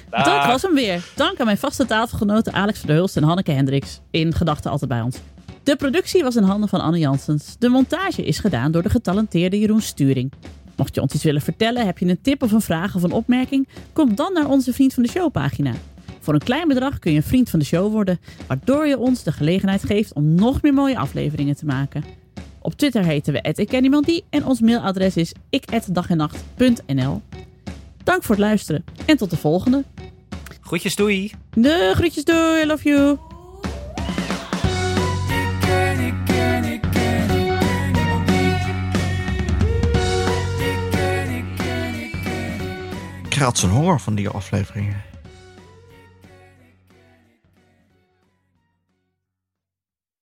Dat
Dag.
was hem weer. Dank aan mijn vaste tafelgenoten Alex van der Hulst en Hanneke Hendricks. In gedachten altijd bij ons. De productie was in handen van Anne Janssens. De montage is gedaan door de getalenteerde Jeroen Sturing. Mocht je ons iets willen vertellen, heb je een tip of een vraag of een opmerking? Kom dan naar onze Vriend van de Show pagina. Voor een klein bedrag kun je een vriend van de show worden, waardoor je ons de gelegenheid geeft om nog meer mooie afleveringen te maken. Op Twitter heten we @ikkenniemandie en ons mailadres is ik@dagennacht.nl. Dank voor het luisteren en tot de volgende.
Groetjes, doei.
De groetjes doei, I love you.
Ik raad zijn honger van die afleveringen.